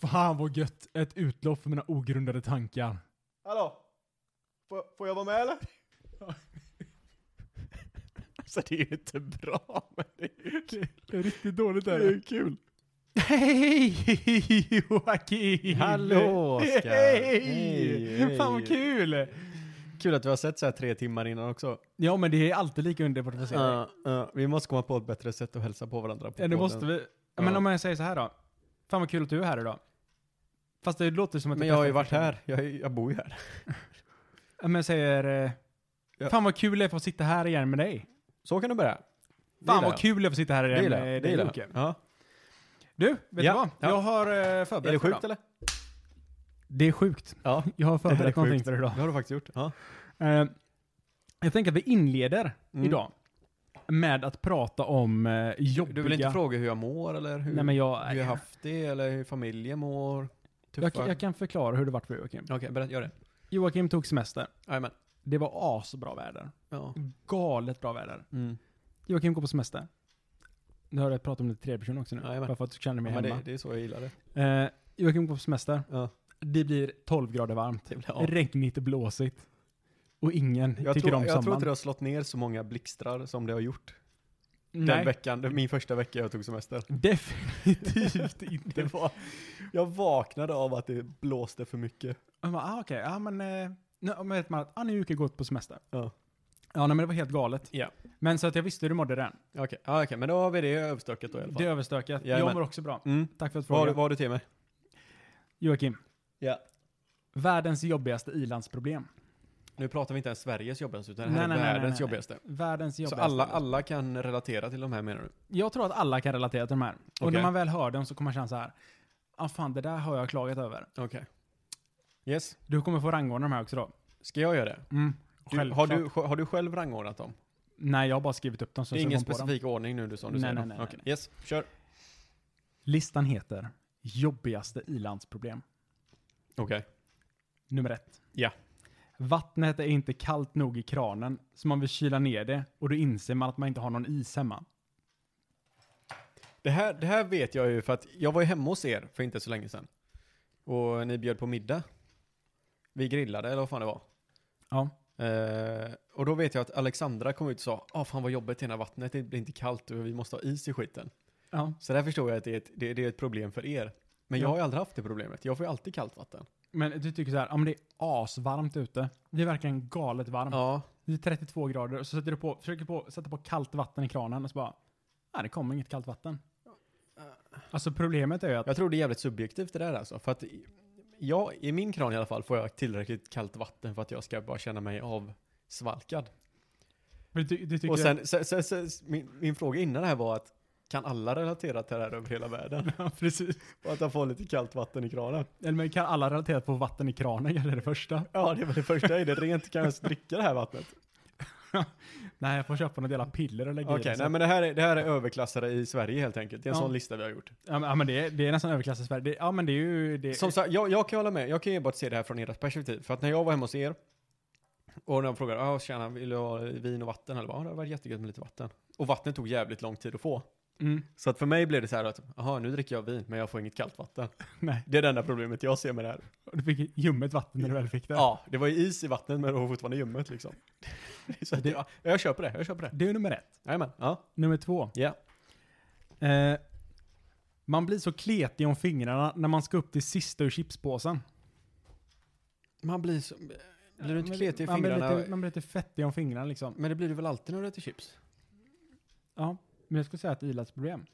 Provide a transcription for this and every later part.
Fan vad gött. Ett utlopp för mina ogrundade tankar. Hallå? Får, får jag vara med eller? Alltså det är ju inte bra, men det är ju kul. Det är riktigt dåligt Det är ju kul. Hej Joakim! Hallå, Oskar. Hej! Hej, hej. Fan vad kul! Kul att vi har sett så här tre timmar innan också. Ja men det är alltid lika underbart att få se dig. Ja, ja, vi måste komma på ett bättre sätt att hälsa på varandra på Ja, det podden. måste vi. Ja, Men Ja. om jag säger så här då. Fan vad kul att du är här idag. Fast det låter som att Men jag jag har ju testar varit första gången. här. Jag, är- jag bor ju här. Ja, Men jag säger... eh, Ja. Fan vad kul det är att få sitta här igen med dig. Så kan du börja. Det Fan gillar vad jag. kul det är att få sitta här Det igen gillar med jag. Det dig gillar Jocke. jag. Ja. Du, vet Ja, du vad? ja. Jag har eh, förberett Är för det sjukt idag. eller? Det är sjukt. Ja. Jag har Det är förberett någonting sjukt. för idag. Det har du faktiskt gjort. Ja. Eh, jag tänker att vi inleder Mm. idag med att prata om eh, jobbiga... Du vill inte fråga hur jag mår eller hur, Nej men jag... hur jag jag, haft det eller hur familjen mår? jag, Tuffa? kan förklara hur det vart för Joakim. Okej, berätta. Gör det. Joakim tog semester. Jajamän. Det var asbra väder. Ja. Galet bra väder. Mm. Joakim går på semester. Nu har jag pratat om det till tredje person också nu. Jajamän. Bara för att du känner mig Ja, men hemma. det, det är så jag gillar det. Eh, Joakim går på semester. Ja. Det blir 12 grader varmt. Det blir av. Regnigt och blåsigt. Och ingen Jag, tycker tror, om jag tror sommaren. inte det har slått ner så många blixtrar som det har gjort. Den Nej, veckan, det- min första vecka jag tog semester. definitivt inte. Det var, jag vaknade av att det blåste för mycket. Man bara, ah, okej, ja men... Eh, nu, men vet man att, ah, nu är Jocke gått på semester. Ja. Ja, nej, men det var helt galet. Ja. Men så att jag visste hur du mådde den. Okej, ja, okej, men då har vi det överstökat då i alla Det är fall. överstökat. Jag Jajamän. mår också bra. Mm. Tack för att Vad har, fråga. du- vad har du till mig? Joakim, Ja. världens jobbigaste ilandsproblem. Nu pratar vi inte ens Sveriges jobbigaste, utan det Nej, här nej, är nej, världens nej, nej. jobbigaste. Världens Så jobbigaste. alla, alla kan relatera till de här menar du? Jag tror att alla kan relatera till de här. Och Okej. när man väl hör dem så kommer man känna så här. Ja, ah, fan, det där har jag klagat över. Okej. Yes. Du kommer få rangordna de här också då. Ska jag göra det? Mm, Du, har, självklart. du, har du själv rangordnat dem? Nej, jag har bara skrivit upp dem. Så det är jag ingen kom på dem. specifik ordning nu du som du Nej, säger? nej, då? nej, nej, Okej. Yes, kör. Listan heter Jobbigaste ilandsproblem. Okej. Nummer ett. Ja. Vattnet är inte kallt nog i kranen, så man vill kyla ner det och då inser man att man inte har någon is hemma. Det här, det här vet jag ju för att jag var ju hemma hos er för inte så länge sedan. Och ni bjöd på middag. Vi grillade eller vad fan det var. Ja. Eh, och då vet jag att Alexandra kom ut och sa ah fan vad jobbigt det här vattnet det blir inte kallt och vi måste ha is i skiten. ja. Så där förstår jag att det är ett, det, det är ett problem för er. Men jag har ju aldrig haft det problemet. Jag får ju alltid kallt vatten. Men du tycker så här, ja men det är asvarmt ute. Det är verkligen galet varmt. Ja, Det är 32 grader och så sätter du på, försöker på, sätta på kallt vatten i kranen och så bara, nej det kommer inget kallt vatten. Alltså problemet är ju att, jag tror det är jävligt subjektivt det där alltså. För att i- jag, i min kran i alla fall, får jag tillräckligt kallt vatten för att jag ska bara känna mig avsvalkad. du, ty- du tycker Och sen, sen, sen, sen min, min fråga innan det här var att kan alla relatera till det här över hela världen? ja, precis. Och att jag får lite kallt vatten i kranen? Eller men kan alla relatera på vatten i kranen, är det det första? Ja, det var det första. Är det rent? Kan jag ens dricka det här vattnet? Nej, jag får köpa något jävla piller och lägga Okej, i det. nej men det liksom. här, är, det här är överklassare i Sverige helt enkelt. Det är en Ja. sån lista vi har gjort. Ja men, ja, men det, är, det är nästan överklass i Sverige. Det, ja men det är ju... Det, Som sagt, jag, jag kan hålla med. Jag kan ju bara se det här från ert perspektiv. För att när jag var hemma hos er och de frågade, ah, tjena, vill du ha vin och vatten? Eller bara, ah, det hade varit jättegött med lite vatten. Och vattnet tog jävligt lång tid att få. mm, Så att för mig blev det så här att, jaha, nu dricker jag vin, men jag får inget kallt vatten. nej, Det är det enda problemet jag ser med det här. Och du fick ljummet vatten när du väl fick det. Ja, det var ju is i vattnet men det var fortfarande ljummet liksom. Så att, ja, jag köper det, jag köper det. Det är nummer ett. Jajamän, ja. Nummer två. Ja. Eh, man blir så kletig om fingrarna när man ska upp till sista ur chipspåsen. Man blir så... Blir du inte Man kletig i man blir fingrarna? Lite, man blir lite fettig om fingrarna liksom. Men det blir du väl alltid när du äter chips? Ja, men jag skulle säga att det är Ilas problem.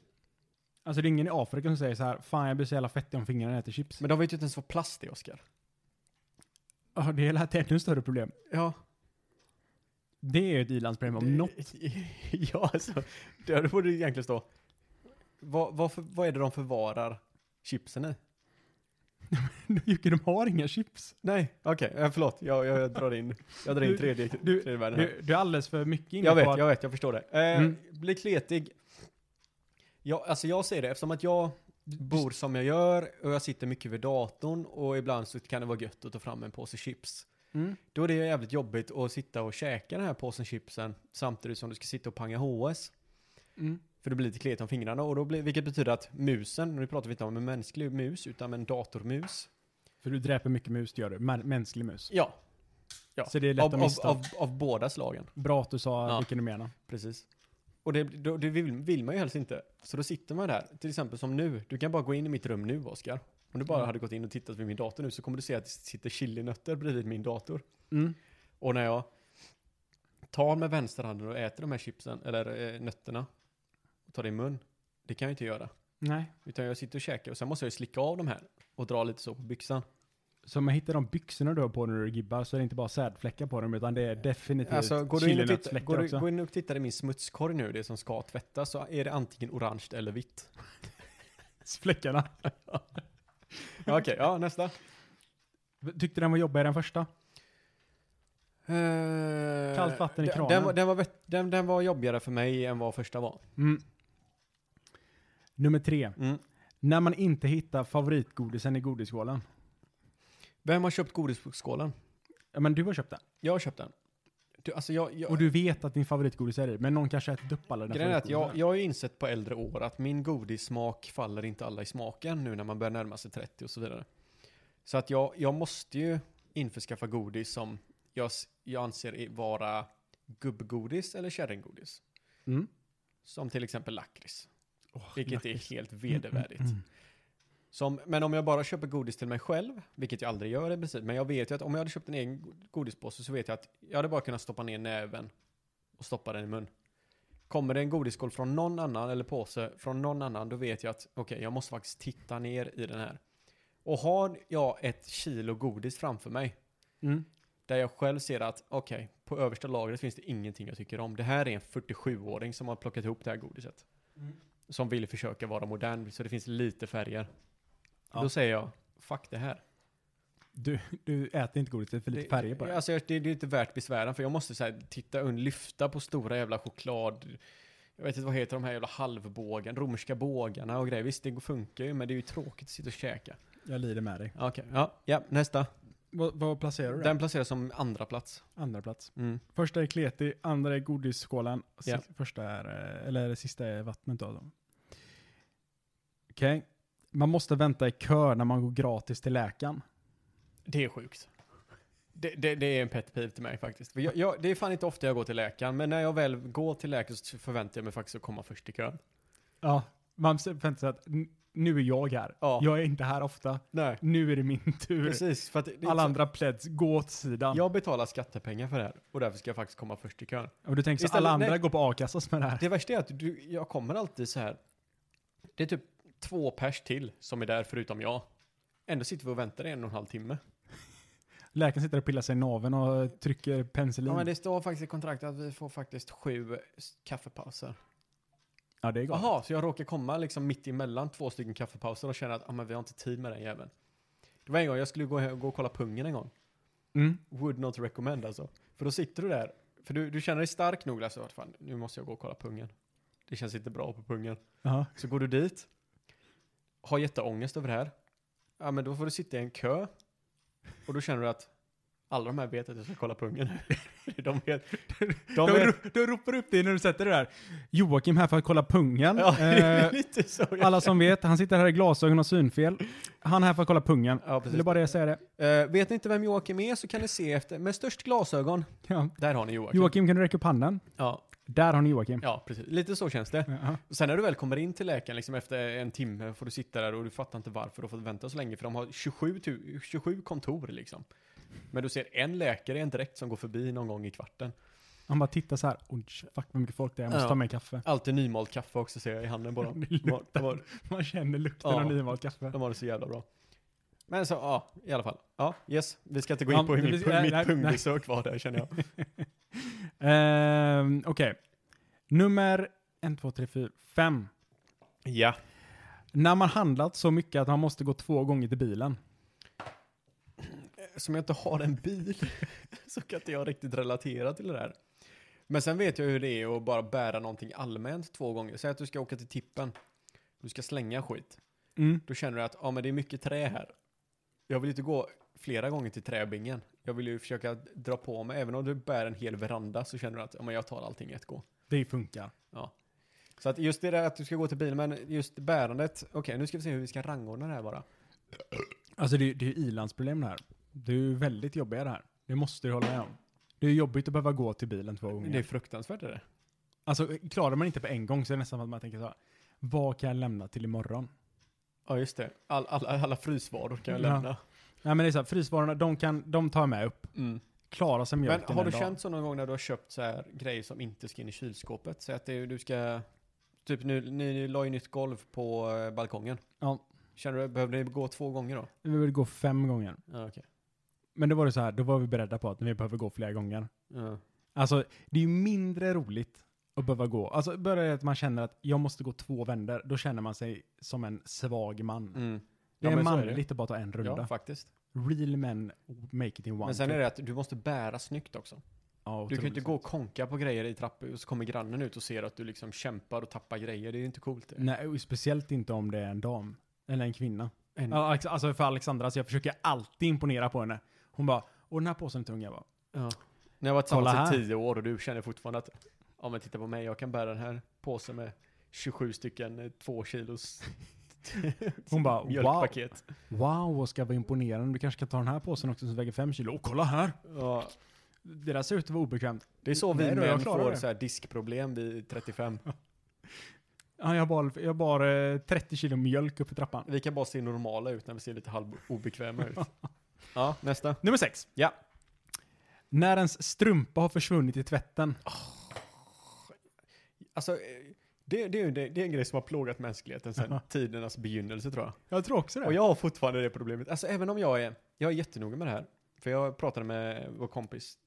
Alltså det är ingen i Afrika som säger så här, fan jag blir så jävla fettig om fingrarna när jag äter chips. Men de vet ju typ inte ens vad plast är, Oskar. Ja, det är ett ännu större problem. Ja. Det är ju ett i-landsproblem om något. ja, alltså. Det det borde egentligen stå. Vad, vad, för, vad är det de förvarar chipsen i? Jocke, de har inga chips. Nej, okej. eh, Förlåt, jag, jag drar in, jag drar in Du- tredje, du- tredje världen här. Du, du är alldeles för mycket inne Jag på vet, att... jag vet, jag förstår det. Eh, Mm. Bli kletig. Ja, alltså jag ser det eftersom att jag bor som jag gör och jag sitter mycket vid datorn och ibland så kan det vara gött att ta fram en påse chips. Mm. Då är det jävligt jobbigt att sitta och käka den här påsen chipsen samtidigt som du ska sitta och panga HS. Mm. För det blir lite kletigt om fingrarna och då blir, vilket betyder att musen, nu pratar vi inte om en mänsklig mus utan en datormus. För du dräper mycket mus, det gör du. Mä- mänsklig mus. Ja. ja. Så det är lätt av, att av, missta. av, av båda slagen. Bra att du sa Ja. vilken du menar. Precis. Och det, då, det vill, vill man ju helst inte. Så då sitter man där, till exempel som nu. Du kan bara gå in i mitt rum nu, Oskar. Om du bara Mm. hade gått in och tittat vid min dator nu så kommer du se att det sitter chilinötter bredvid min dator. Mm. Och när jag tar med vänsterhanden och äter de här chipsen, eller eh, nötterna, och tar det i mun, det kan jag inte göra. Nej. Utan jag sitter och käkar och sen måste jag ju slicka av de här och dra lite så på byxan. Så om man hittar de byxorna du har på när du gibbar så är det inte bara sädfläckar på dem utan det är definitivt Alltså, går du, in och titta, chilinötsfläckar går, du, också. går in och tittar i min smutskorg nu, det som ska tvättas, så är det antingen orange eller vitt. Fläckarna. Ja, Okej, ja nästa. Tyckte den var jobbigare än första? Kallt vatten i Den- kranen. Den, var- den, var, vett- den, den var jobbigare för mig än vad första var. Mm. Nummer tre. Mm. När man inte hittar favoritgodisen i godisskålen. Vem har köpt godisskålen? Ja, men du har köpt den. Jag har köpt den. Du, alltså jag, jag, Och du vet att din favoritgodis är i. Men någon kanske ätit upp alla dina Grejen är att jag, favoritgodisar. jag har ju insett på äldre år att min godissmak faller inte alla i smaken nu när man börjar närma sig 30 och så vidare. Så att jag, jag måste ju införskaffa godis som jag, s- jag anser i- vara gubbgodis eller kärringgodis. Mm. Som till exempel lakrits, Åh, vilket lakrits. Mm, är helt vedervärdigt. Som, men om jag bara köper godis till mig själv, vilket jag aldrig gör i princip, men jag vet ju att om jag hade köpt en egen go- godispåse så vet jag att jag hade bara kunnat stoppa ner näven och stoppa den i mun. Kommer det en godisskål från någon annan eller påse från någon annan, då vet jag att okej, jag måste faktiskt titta ner i den här. Och har jag ett kilo godis framför mig, Mm. där jag själv ser att okej, på översta lagret finns det ingenting jag tycker om. Det här är en 47-åring som har plockat ihop det här godiset. Mm. Som vill försöka vara modern, så det finns lite färger. Ja. Då säger jag, fuck det här. Du, du äter inte godis, det är för lite Det- färger på det. Alltså jag- det, det är inte värt besvären, för jag måste så här, titta und, lyfta på stora jävla choklad... Jag vet inte vad heter de här jävla halvbågen, romerska bågarna och grejer. Visst, det funkar ju, men det är ju tråkigt att sitta och käka. Jag lider med dig. Okej, ja, ja, nästa. Vad, vad placerar du Den den? placeras som andra plats. Andra plats. Mm. Första är kleti, andra är godisskålen. si- Ja. Första är, eh, eller det sista är vattnet då. Okej. Man måste vänta i kö när man går gratis till läkaren. Det är sjukt. Det, det, det är en pet peeve till mig faktiskt. För jag, jag, det är fan inte ofta jag går till läkaren, men när jag väl går till läkaren så förväntar jag mig faktiskt att komma först i kön. Ja, man förväntar sig att "N- nu är jag här. Ja. Jag är inte här ofta. Nej. Nu är det min tur. Precis, för att det, det är Alla inte andra pleds, gå åt så, sidan. jag betalar skattepengar för det här och därför ska jag faktiskt komma först i kön. Och du tänker så Istället- alla andra nej. går på a-kassa som är det här. Det värsta är att du, jag kommer alltid så här. Det är typ två pers till som är där förutom jag. Ändå sitter vi och väntar i en och en halv timme. Läkaren sitter och pillar sig i naveln och trycker penicillin. Ja, men det... det står faktiskt i kontraktet att vi får faktiskt sju s- kaffepauser. är galet. Jaha, så jag råkar komma liksom mitt emellan två stycken kaffepauser och känner att ah, men vi har inte tid med den jäveln. Det var en gång jag skulle gå, he- gå och kolla pungen en gång. Mm. Would not recommend alltså. För då sitter du där, för du, du känner dig stark nog alltså, att fan, nu måste jag gå och kolla pungen. Det känns inte bra på pungen. Jaha. Så går du dit, har jätteångest över det här. Ja men då får du sitta i en kö. Och då känner du att alla de här vet att jag ska kolla pungen. de vet. De, De vet. ro- de ropar upp dig när du sätter dig där. Joakim här för att kolla pungen. Ja, det Eh, är lite så. jag alla som vet, han sitter här i glasögon och synfel. Han är här för att kolla pungen. Ja, precis. Vill bara jag säga det. Eh, vet ni inte vem Joakim är så kan ni se efter, med störst glasögon. Ja. Där har ni Joakim. Joakim, kan du räcka upp handen? Ja, Där har ni Joakim. ja, precis. Lite så känns det. Jaha. Och sen när du väl kommer in till läkaren, liksom efter en timme, får du sitta där och du fattar inte varför du har fått vänta så länge, för de har 27, tu- 27 kontor liksom. Men du ser en läkare i en direkt som går förbi någon gång i kvarten. Han bara tittar så här. Oj, fuck vad mycket folk det är. Jag måste Ja. ta med kaffe. Alltid nymalt kaffe också ser jag i handen på dem. Det De har, de, har, Man känner lukten Ja. av nymalt kaffe. de har det så jävla bra. Men så, ja, i alla fall. Ja, yes. Vi ska inte gå Ja, in på hur vi min, ska- pung- nej, mitt nej. pungbesök var där känner jag. Ehm, Okej. Nummer 1, 2, 3, 4, 5. Ja. När man handlat så mycket att man måste gå två gånger till bilen. som jag inte har en bil så kan inte jag riktigt relatera till det där. Men sen vet jag hur det är att bara bära någonting allmänt två gånger. Säg att du ska åka till tippen. Du ska slänga skit. Mm. Då känner du att ah, men det är mycket trä här. Jag vill inte gå flera gånger till träbingen. Jag vill ju försöka dra på mig. Även om du bär en hel veranda så känner du att ah, men jag tar allting i ett gå. Det funkar. Ja. Så att just det där att du ska gå till bilen, men just bärandet. Okej, nu ska vi se hur vi ska rangordna det här bara. Alltså det, är- det är ju i-landsproblem det här. Det är ju väldigt jobbiga det här. Det måste du hålla med om. Det är ju jobbigt att behöva gå till bilen två gånger. Det är fruktansvärt är det. Alltså klarar man inte på en gång så är det nästan som att man tänker så här. Vad kan jag lämna till imorgon? Ja, just det. All, alla, alla frysvaror kan jag Ja. lämna. Nej men det är så här, frysvarorna, de, kan, de tar jag med upp. Mm. Klara som Men mjölken har du en dag. känt så någon gång när du har köpt så här grejer som inte ska in i kylskåpet? Säg att det, är- du ska, typ nu, ni la ju nytt golv på eh, balkongen. Ja. Känner du, behövde ni gå två gånger då? Vi vill gå fem gånger. Ja, okej. Men då var det så här, då var vi beredda på att vi behöver gå flera gånger. Ja. Alltså det är ju mindre roligt att behöva gå. Alltså börjar det att man känner att jag måste gå två vändor, då känner man sig som en svag man. Mm. Det är men så är det. manligt att bara ta en Ja, runda. faktiskt. Real men make it in one. Men sen trip. är det att du måste bära snyggt också. Ja, Du kan ju otroligt inte gå och konka på grejer i trappor och så kommer grannen ut och ser att du liksom kämpar och tappar grejer. Det är ju inte coolt. Det. Nej, och speciellt inte om det är en dam. Eller en kvinna. En- Ja, Alex- Alltså för Alexandra, så jag försöker alltid imponera på henne. Hon bara, och den här påsen är tung. Jag bara, Ja. När jag var Kolla tillsammans i här. tio år och du känner fortfarande att ja men titta på mig, jag kan bära den här påsen med 27 stycken eh, två kilos hon bara, wow, mjölkpaket. wow, Oskar vad imponerande. Du kanske kan ta den här påsen också som väger fem kilo. Och kolla här! Ja. Det där ser ut att vara obekvämt. Det är så vi Nej då, jag män klarar får det. så här diskproblem vid 35. Ja, jag bar, jag bar eh, 30 kilo mjölk upp för trappan. Vi kan bara se normala ut när vi ser lite halv obekväma ut. Ja, nästa. Nummer sex. Ja. När ens strumpa har försvunnit i tvätten. Alltså, eh, det, det, är ju- det, det är en grej som har plågat mänskligheten sedan tidernas begynnelse tror jag. Jag tror också det. Och jag har fortfarande det problemet. Alltså även om jag är, jag är jättenoga med det här. För jag pratade med vår kompis.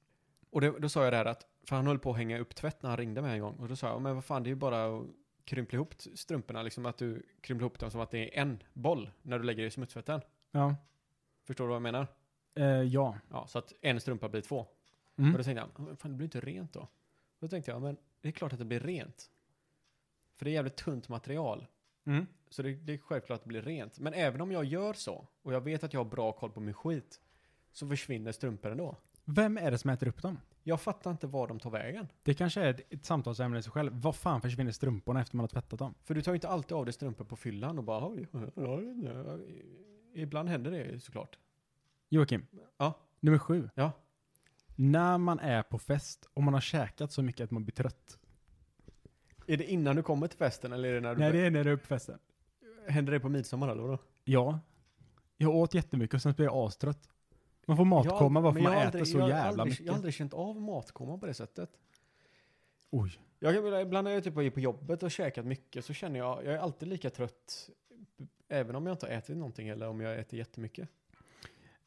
Och det, då sa jag det här att, för han höll på att hänga upp tvätt när han ringde mig en gång. Och då sa jag, men vad fan det är ju bara att krympla ihop t- strumporna. Liksom att du krymplar ihop dem som att det är en boll när du lägger i smutstvätten. ja. Förstår du vad jag menar? Eh, ja. Ja, så att en strumpa blir två. Mm. Och då tänkte jag, men fan det blir inte rent då. Då tänkte jag, men det är klart att det blir rent. För det är jävligt tunt material. Mm. Så det, det är självklart att det blir rent. Men även om jag gör så, och jag vet att jag har bra koll på min skit, så försvinner strumpor ändå. Vem är det som äter upp dem? Jag fattar inte var de tar vägen. Det kanske är ett, ett samtalsämne i sig själv. Vad fan försvinner strumporna efter man har tvättat dem? För du tar ju inte alltid av dig strumpor på fyllan och bara oj, oj, oj, oj. Ibland händer det ju såklart. Joakim. Ja. Nummer sju. Ja. När man är på fest och man har käkat så mycket att man blir trött. Är det innan du kommer till festen eller är det när du... Nej, det är när du är på festen. Händer det på midsommar eller vadå? Ja. Jag åt jättemycket och sen blev jag astrött. Man får matkomma Jag- varför men man jag har äter aldrig- så jag har jävla aldrig, mycket. Jag har aldrig känt av matkomma på det sättet. Oj. Jag kan, ibland när jag typ är på jobbet och käkat mycket så känner jag, jag är alltid lika trött. Även om jag inte har ätit någonting eller om jag äter jättemycket.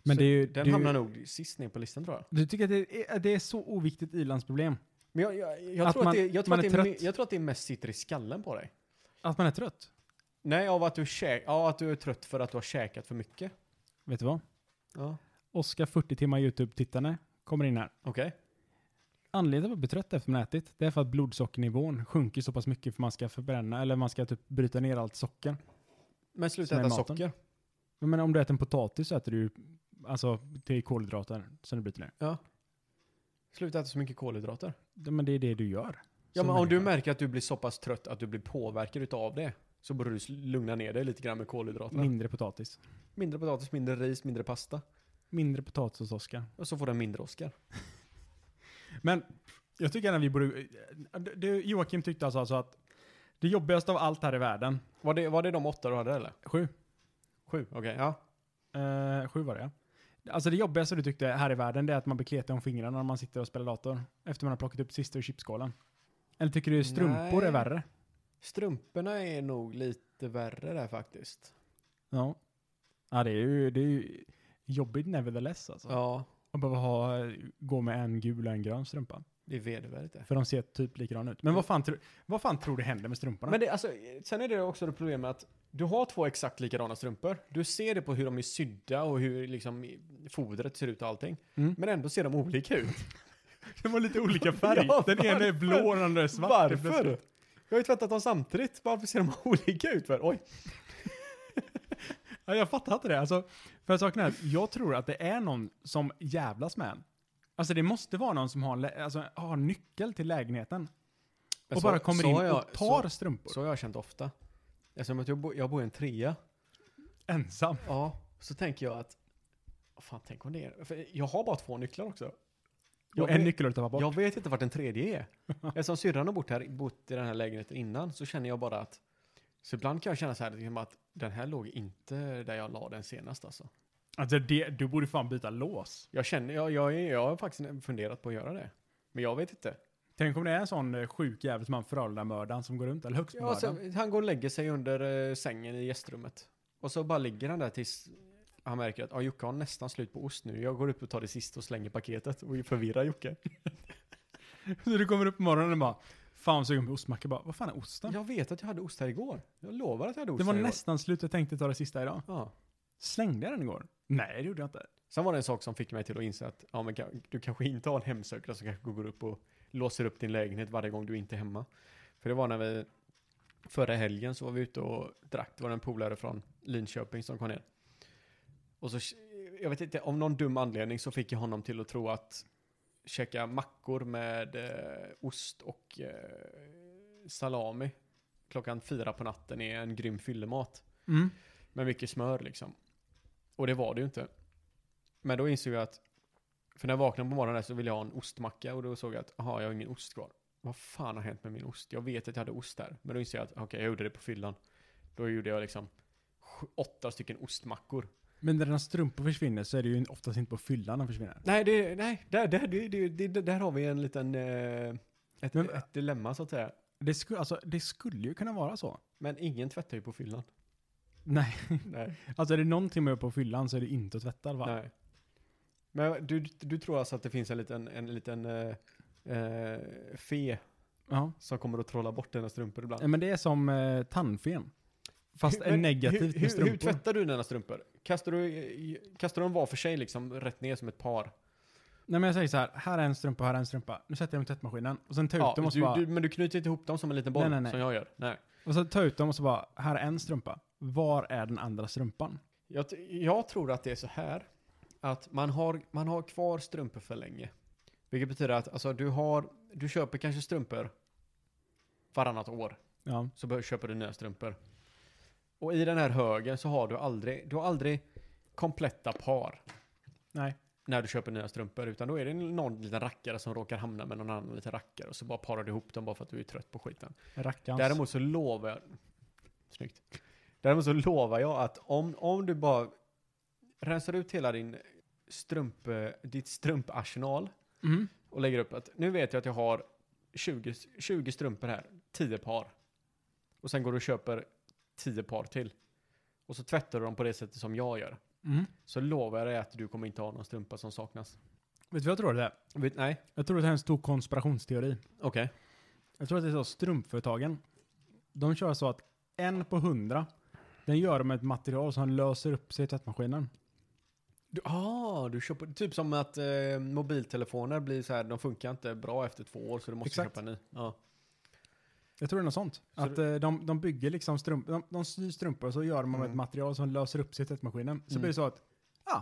Men Så det är ju, Den du, hamnar nog sist ner på listan tror jag. du tycker att det är, att det är så oviktigt i-landsproblem? Men jag, jag, jag, Att tror, man- att det, jag, tror man att det är är, me- trött. jag tror att det mest sitter i skallen på dig. Att man är trött? Nej, av att du, käk, ja, att du är trött för att du har käkat för mycket. Vet du vad? Ja. Oskar 40 timmar YouTube-tittare kommer in här. Okej. Anledningen till att man blir trött efter man har ätit, det är för att blodsockernivån sjunker så pass mycket för man ska förbränna, eller man ska typ bryta ner allt socker. Men sluta Som är äta maten. socker. Jag menar om du äter en potatis så äter du ju, alltså till kolhydrater som du bryter ner. Sluta äta så mycket kolhydrater. Ja, Men det är det du gör. Ja, Som men om du människa. märker att du blir så pass trött att du blir påverkad utav det så borde du sl- lugna ner dig lite grann med kolhydraterna. Mindre potatis. Mindre potatis, mindre ris, mindre pasta. Mindre potatis hos Oskar. Och så får den mindre Oscar. Men jag tycker gärna vi borde... Du, Joakim tyckte alltså, alltså att det jobbigaste av allt här i världen, Var det, var det de åtta du hade eller? sju, Sju, okej. ja. Eh, sju var det ja. Alltså det jobbigaste du tyckte här i världen det är att man blir kletig om fingrarna när man sitter och spelar dator. Efter man har plockat upp sista ur chipskålen. Eller tycker du strumpor Nej. är värre? Strumporna är nog lite värre där faktiskt. Ja. Ja det är ju, det är ju jobbigt nevertheless alltså. Ja, Att behöva ha, gå med en gul och en grön strumpa. det är vedervärdigt det. För de ser typ likadana ut. Men vad fan, tro, vad fan tror du händer med strumporna? Men det, alltså, sen är det också det problemet att du har två exakt likadana strumpor. Du ser det på hur de är sydda och hur liksom i- fodret ser ut och allting. Mm. Men ändå ser de olika ut. det var lite olika färg. Den ena är blå och den andra är Varför? Jag har ju tvättat dem samtidigt. Varför ser de olika ut? För? Oj. Ja, jag fattar inte det. Alltså, för saken är att jag tror att det är någon som jävlas med en. Alltså det måste vara någon som har, lä- alltså, har nyckel till lägenheten. Men Och så- bara kommer så in har jag- och tar Så, strumpor. så har jag känt ofta. Eftersom att jag, bo, jag bor i en trea. Ensam. Ja, så tänker jag att... vad Fan, tänk om det är... För jag har bara två nycklar också. Jag Och en vet- nyckel har du tappat bort. Jag vet inte vart den tredje är. Eftersom syrran har bott, här, bott i den här lägenheten innan så känner jag bara att... Så ibland kan jag känna så här liksom att den här låg inte där jag la den senast alltså. Alltså det, du borde fan byta lås. Jag känner, jag, jag, är- jag har faktiskt funderat på att göra det. Men jag vet inte. Tänk om det är en sån eh, sjuk jävel som han Frölunda-mördaren som går runt, eller Ja, Högsbomördaren. så han går och lägger sig under eh, sängen i gästrummet. Och så bara ligger han där tills han märker att ah, Jocke har nästan slut på ost nu. Jag går upp och tar det sista och slänger paketet och förvirrar Jocke. Så du kommer upp på morgonen och bara, fan sugen på ostmacka. Bara, vad fan är osten? Jag vet att jag hade ost här igår. Jag lovar att jag hade ost det var här nästan slut, jag tänkte ta det sista idag. igår. Ja. Slängde jag den igår? Nej, det gjorde jag inte. Sen var det en sak som fick mig till att inse att ja, men ka- du kanske inte har en hemsökare som kanske går upp och låser upp din lägenhet varje gång du inte är hemma. För det var när vi förra helgen så var vi ute och drack. Det var en polare från Linköping som kom ner. Och så, jag vet inte, av någon dum anledning så fick jag honom till att tro att käka mackor med eh, ost och eh, salami klockan fyra på natten är en grym fyllemat. Mm. Med mycket smör liksom. Och det var det ju inte. Men då insåg jag att, för när jag vaknade på morgonen där så ville jag ha en ostmacka och då såg jag att, aha, jag har ingen ost kvar. Vad fan har hänt med min ost? Jag vet att jag hade ost där. Men då insåg jag att, okej, jag gjorde det på fyllan. Då gjorde jag liksom sju- åtta stycken ostmackor. Men när dina strumpor försvinner så är det ju oftast inte på fyllan de försvinner. Nej, det, nej, där, där, det, det, det, där har vi en liten, eh, ett, Men- ett dilemma så att säga. Det, sku, alltså, det skulle ju kunna vara så. Men ingen tvättar ju på fyllan. Nej, Nej. alltså är det någonting man gör på fyllan så är det inte att tvätta va? Nej. Men du, du tror alltså att det finns en liten, en liten eh, eh, fe Ja. som kommer att trolla bort dina strumpor ibland. Nej, Men det är som eh, tandfen. Fast Hur- är men negativt hur, med hur, strumpor. hur tvättar du dina strumpor? Kastar du, i- kastar du dem var för sig liksom rätt ner som ett par? Nej men jag säger så här, här är en strumpa, här är en strumpa. Nu sätter jag dem i tvättmaskinen. Och sen tar jag ut dem och så du, bara, du, men du knyter inte ihop dem som en liten boll Nej, nej, nej. som jag gör? Nej. och så tar jag ut dem och så bara, här är en strumpa. Var är den andra strumpan? Jag, t- jag tror att det är så här att man har, man har kvar strumpor för länge. Vilket betyder att alltså, du, har, du köper kanske strumpor varannat år. Ja. så bör- köper du nya strumpor. Och i den här högen så har du aldrig, du har aldrig kompletta par Nej. när du köper nya strumpor, utan då är det någon liten rackare som råkar hamna med någon annan liten rackare och så bara parar du ihop dem bara för att du är trött på skiten. Rackarns. Däremot så lovar jag... Snyggt. Däremot så lovar jag att om, om du bara rensar ut hela din strump, eh, ditt strumparsenal Mm. och lägger upp att nu vet jag att jag har 20, 20 strumpor här, 10 par. Och sen går du och köper 10 par till. Och så tvättar du dem på det sättet som jag gör. Mm. Så lovar jag dig att du kommer inte ha någon strumpa som saknas. Vet du vad jag tror det är? Vet- Nej, Jag tror det här är en stor konspirationsteori. okej. Jag tror att det är så strumpföretagen, de kör så att en på hundra, den gör de med ett material som löser upp sig i tvättmaskinen. Du, ah, du köper, typ som att eh, mobiltelefoner blir så här, de funkar inte bra efter två år så du måste Exakt. köpa en ny. Ja. Jag tror det är något sånt. Så att eh, de, de bygger liksom strumpor, de, de syr strumpor och så gör de med ett Mm. material som löser upp sig i tvättmaskinen. Så Mm. blir det så att, ah,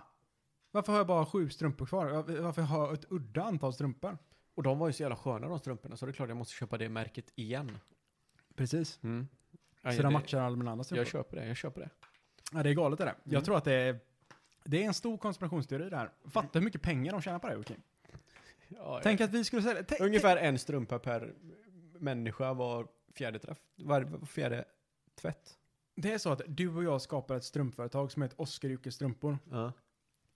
varför har jag bara sju strumpor kvar? Var- Varför har jag ett udda antal strumpor? Och de var ju så jävla sköna de strumporna så det är klart jag måste köpa det märket igen. Precis. Mm. Så de matchar alla mina andra strumpor. Jag köper det, jag köper det. Ja, det är galet det där. Jag Mm. tror att det är, det är en stor konspirationsteori det här. Fatta hur mycket pengar de tjänar på det här, Joakim. Ja, jag- Tänk att vi skulle sälja... tänk- Ungefär en strumpa per människa var fjärde träff. Var, var fjärde tvätt. Det är så att du och jag skapar ett strumpföretag som heter Oskar Jocke Strumpor.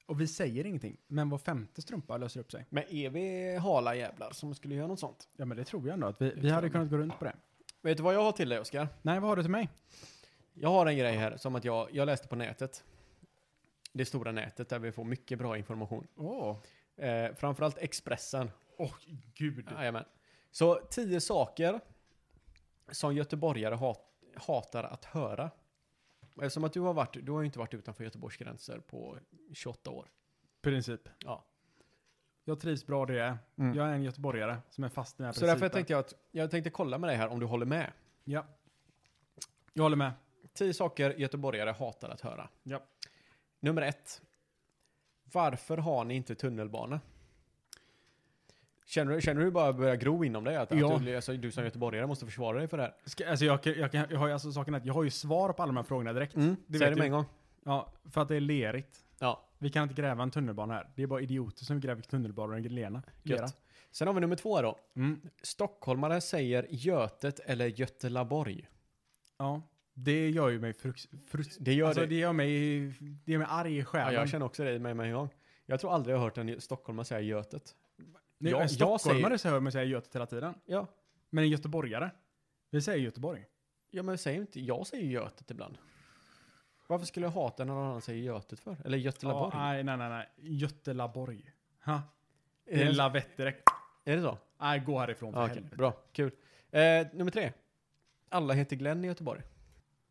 Och vi säger ingenting, men var femte strumpa löser upp sig. Men är vi hala jävlar som skulle göra något sånt? Ja, men det tror jag ändå att vi, vi tror hade jag kunnat gå runt på det. Vet du vad jag har till dig Oskar? Nej, vad har du till mig? Jag har en grej här som att jag, jag läste på nätet. Det stora nätet där vi får mycket bra information. Åh. Eh, framförallt Expressen. Åh, gud. Jajamän. Så tio saker som göteborgare hat, hatar att höra. Och Eftersom att du har varit, du har ju inte varit utanför Göteborgs gränser på 28 år. Princip. Ja. Jag trivs bra där jag är. Mm. Jag är en göteborgare som är fast i den här Så principen. därför jag tänkte jag att jag tänkte kolla med dig här om du håller med. Ja. Jag håller med. Tio saker göteborgare hatar att höra. Ja. Nummer ett. Varför har ni inte tunnelbana? Känner, du- känner du hur det bara börjar gro inom dig? Att, Ja. att du, alltså, du som göteborgare måste försvara dig för det här. Ska, alltså jag, kan- jag, kan- jag, har, ju- alltså, saken är att jag har ju svar på alla de här frågorna direkt. Mm, det det Säg vet det du. med en gång. Ja, för att det är lerigt. Ja, Vi kan inte gräva en tunnelbana här. Det är bara idioter som gräver tunnelbanor i lena. lera. gött. Sen har vi nummer två då. Mm. Stockholmare säger Götet eller Götelaborg. Ja, det gör ju mig frux, frus, Det gör alltså, det. det. gör mig, det gör mig arg i Ja, själen. jag känner också det med, med en gång. Jag tror aldrig jag har hört en stockholmare säga Götet. Nej, jag- en jag stockholmare så hör man säga Götet hela tiden. Ja, Men en göteborgare, vi säger Göteborg. ja men säg inte. Jag säger Götet ibland. Varför skulle jag hata när någon annan säger Götet för? Eller Götelaborg? Ja, nej, nej, nej, nej. Götelaborg. Ha, det är är, en det, lavett direkt. är det så? Nej, gå härifrån för Ja, okej. helvete. Bra, kul. Eh, nummer tre. Alla heter Glenn i Göteborg.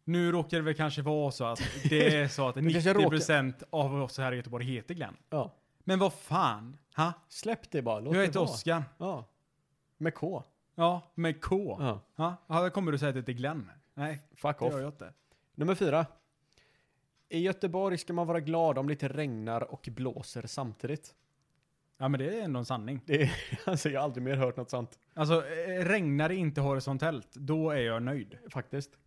Nu råkar det väl kanske vara så att det är så att kanske råkar- 90% av oss här i Göteborg heter Glenn. Ja. Men vad fan? Ha? Släpp det bara, låt Jag det heter vara. Oskar. Ja. Med K. Ja, med K. Ja. Ja, ja, kommer du säga att det är Glenn? Nej, Fuck det off. gör jag inte. Nummer fyra. I Göteborg ska man vara glad om det inte regnar och blåser samtidigt. Ja, men det är ändå en sanning. Det är, alltså, jag har aldrig mer hört något sånt. Alltså, eh, regnar det inte horisontellt, då är jag nöjd. Faktiskt.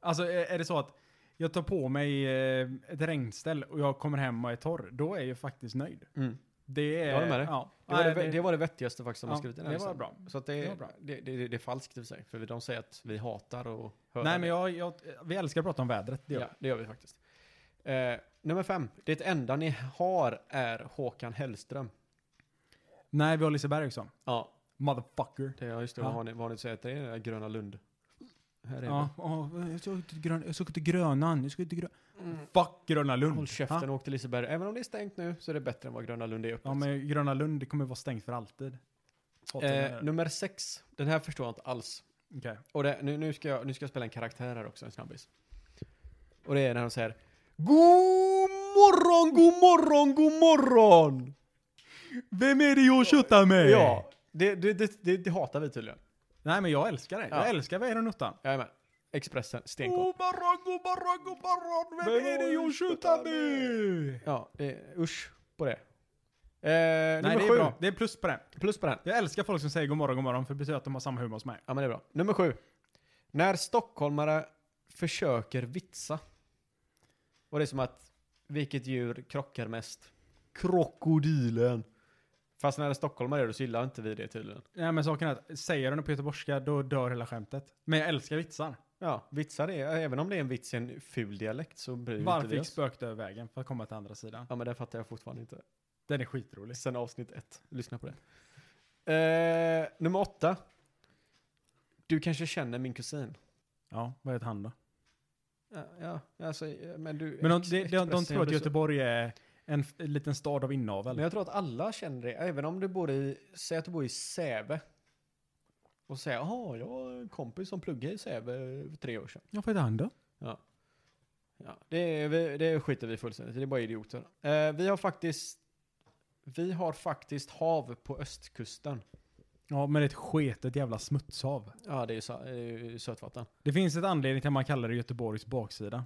Alltså, eh, är det så att jag tar på mig eh, ett regnställ och jag kommer hem och är torr, då är jag faktiskt nöjd. Mm. Det är... Jag håller med dig. Ja. Det, var Nej, det, det var det vettigaste faktiskt som har ja, skrivit i den Det här var listan. bra. Så att det, Det det, var bra. det, det, är falskt i och för sig. För de säger att vi hatar och hör Nej, men jag, jag, vi älskar att prata om vädret. Det det. gör Ja, det gör vi faktiskt. Eh, nummer fem. Det enda ni har är Håkan Hellström. vi. Nej, vi har Liseberg också. Ja, Motherfucker. det är just det. Ja. Vad har ni, vad har ni att säga till det? Det där Gröna Lund. Här är det. Ja, ja, jag såg inte grön, jag såg inte Grönan, jag såg inte grön... Fuck Gröna Lund. Håll Ha? käften och åk till Liseberg. Även om det är stängt nu så är det bättre än vad Gröna Lund är öppet. Ja, men Gröna Lund det kommer vara stängt för alltid. Hatar det. eh, nummer sex. Den här förstår jag inte alls. Okej. Och det, nu, nu, ska jag, nu ska jag spela en karaktär här också, en snabbis. Och det är när de säger God morgon, god morgon, god morgon! Vem är det jag tjötar med? Ja, det, det, det, det, det hatar vi tydligen. Nej men jag älskar det. Ja. Jag älskar Väder och Nuttan. Jajamän. Expressen, stenkort. God morgon, god morgon, god morgon. Vem, Vem är det jag tjötar med? Ja, det, usch på det. Eh, Nej nummer det sju. är bra. Det är plus på det. Plus på den. Jag älskar folk som säger god morgon, god morgon för det betyder att de har samma humor som mig. Ja, men det är bra. Nummer sju. När stockholmare försöker vitsa. Och det är som att, vilket djur krockar mest? Krokodilen. Fast när en stockholmare gör det så gillar inte vi det tydligen. Nej men saken är att säger de det på göteborgska då dör hela skämtet. Men jag älskar vitsar. Ja, vitsar är, även om det är en vits i en ful dialekt så bryr ju Varför inte vi gick oss. spöket över vägen för att komma till andra sidan? Ja, men den fattar jag fortfarande inte. Den är skitrolig. Sen avsnitt ett. Lyssna på det. Eh, nummer åtta. Du kanske känner min kusin. Ja, vad heter han då? Ja, ja alltså, eh, men du... Men de, Ex- de, de, de Expressen tror att blir så- Göteborg är en, f- en liten stad av inavel. Men jag tror att alla känner det, även om du bor i, säg att du bor i Säve. Och säger, jaha, jag har en kompis som pluggade i Säve för tre år sedan. Ja, vad heter han då? Ja, det, är vi- det skiter vi fullständigt i, det är bara idioter. Eh, vi har faktiskt, vi har faktiskt hav på östkusten. Ja, men det är ett sketet jävla smutshav. Ja, det är ju, sa- det är eh, ju sötvatten. Det finns ett anledning till att man kallar det Göteborgs baksida.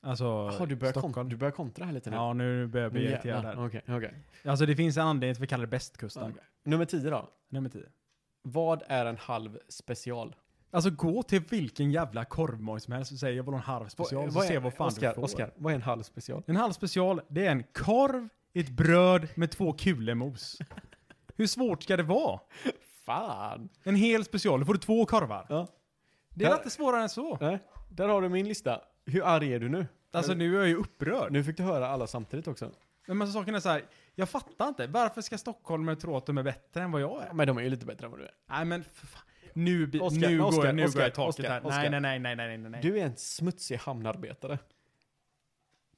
Alltså, Jaha, du, börjar Stockholm. kon- du börjar kontra här lite nu. Ja, nu börjar jag Nu bli jävlar. irriterad här. Okej, okej. Alltså det finns en anledning till att vi kallar det Ja, bästkusten. okej. Nummer tio då. Nummer 10. Vad är en halv special? Alltså gå till vilken jävla korvmoj som helst och säg jag vill ha en halv special så Vad är- se vad fan Oscar, du får. Oscar, vad är en halv special? En halv special, det är en korv, ett bröd med två kulemos. Hur svårt ska det vara? Fan! En hel special, då får du två korvar. Ja. Det är Där- inte svårare än så. Nej, där har du min lista. Hur arg är du nu? Alltså nu är jag ju upprörd. Nu fick du höra alla samtidigt också. Men alltså, saken är så här, jag fattar inte. Varför ska stockholmare tro att de är bättre än vad jag är? Men de är ju lite bättre än vad du är. Nej men för fan. Nu, bi- Oscar, nu, Oscar, går, jag, nu Oscar, går jag i taket Oscar, här. Oscar. Nej, nej, nej, nej, nej, nej, nej. Du, Du är en smutsig hamnarbetare.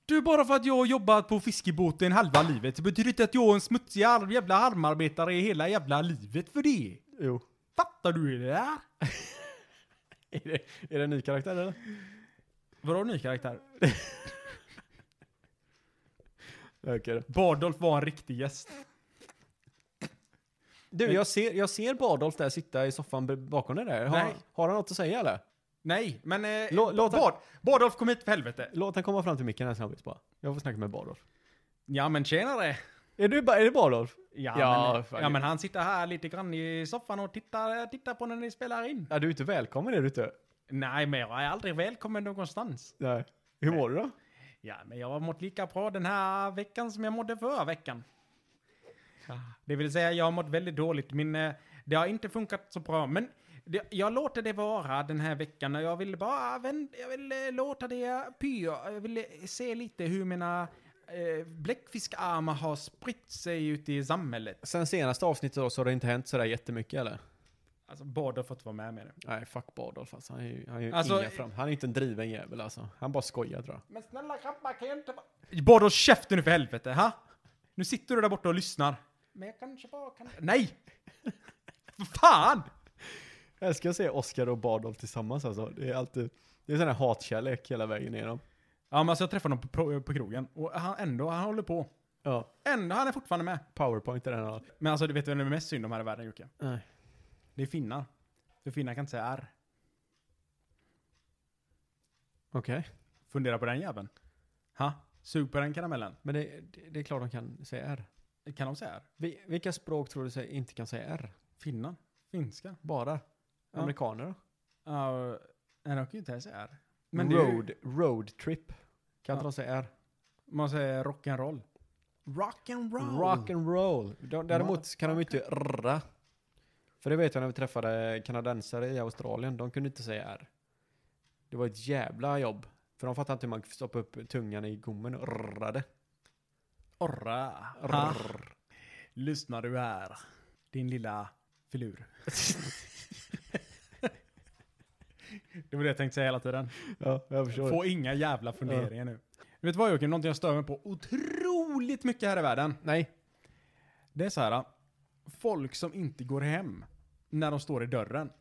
du, bara för att jag har jobbat på fiskebåten halva livet så betyder det inte att jag är en smutsig arm, jävla armarbetare i hela jävla livet för det. Jo. Fattar du det där? Är det, är det en ny karaktär eller? Vadå ny karaktär? Okej då. Bardolf var en riktig gäst. Du, Men- jag ser, jag ser Bardolf där sitta i soffan b- bakom dig där. Har, Nej. har han något att säga eller? Nej, men... Eh, Lå- låt han- Bard, Bardolf kom hit för helvete. Låt han komma fram till micken här snabbt bara. Jag får snacka med Bardolf. Ja men tjenare. Är, du, ba- är det Barlolf? Ja, Ja, men, fan. ja, men han sitter här lite grann i soffan och tittar, tittar på när ni spelar in. Ja, du är inte välkommen är du inte? Nej, men jag är aldrig välkommen någonstans. Nej. Hur mår du då? Ja, men jag har mått lika bra den här veckan som jag mådde förra veckan. Det vill säga, jag har mått väldigt dåligt. Min, eh, det har inte funkat så bra, men det, jag låter det vara den här veckan. och Jag vill bara vända, jag vill eh, låta det pyra. Jag vill eh, se lite hur mina eh, bläckfiskarmar har spritt sig ute i samhället. Sen senaste avsnittet då så har det inte hänt sådär jättemycket eller? Alltså, båda har fått vara med med det. Nej, fuck Bardolf alltså. Han är ju, han är ju Alltså, inga fram. Han är inte en driven jävel alltså. Han bara skojar tror jag. Men snälla grabbar, kan jag inte bara... Bara håll käften nu för helvete, ha? Nu sitter du där borta och lyssnar. Men jag kanske bara kan... Nej! Vad fan! Jag älskar att se Oscar och Bardolf tillsammans alltså. Det är alltid, det är sån här hatkärlek hela vägen igenom. Ja, men alltså jag träffade honom på, pro- på krogen och han, ändå, han håller på. Ja, Ändå, han är fortfarande med. powerpoint är den här. Men alltså, du vet vem det är mest synd om här i världen, Jocke? Nej. Det är finnar. För finnar kan inte säga R. Okej. Fundera på den jäveln. Ha? Sug på den karamellen. Men det, det, det är klart de kan säga R. Kan de säga R? Vi, vilka språk tror du säger, inte kan säga R? Finnar? Finska? Bara? Ja. Amerikaner då? Ja, nej, de kan ju inte säga R. Men Men det är ju, road, road trip. Kan Ja. inte de säga R? man säger rock'n'roll. Rock'n'roll! Rock and roll. De, däremot kan de ju inte rra. För det vet jag när vi träffade kanadensare i Australien. De kunde inte säga R. Det var ett jävla jobb. För de fattade inte hur man stoppade upp tungan i gommen och rrade. Orra. Ha. Rrr. Lyssnar du här, din lilla filur. det var det jag tänkte säga hela tiden. Ja, jag Få inga jävla funderingar nu. Vet du vad Joakim, någonting jag stör mig på otroligt mycket här i världen. Nej. Det är så här, folk som inte går hem när de står i dörren.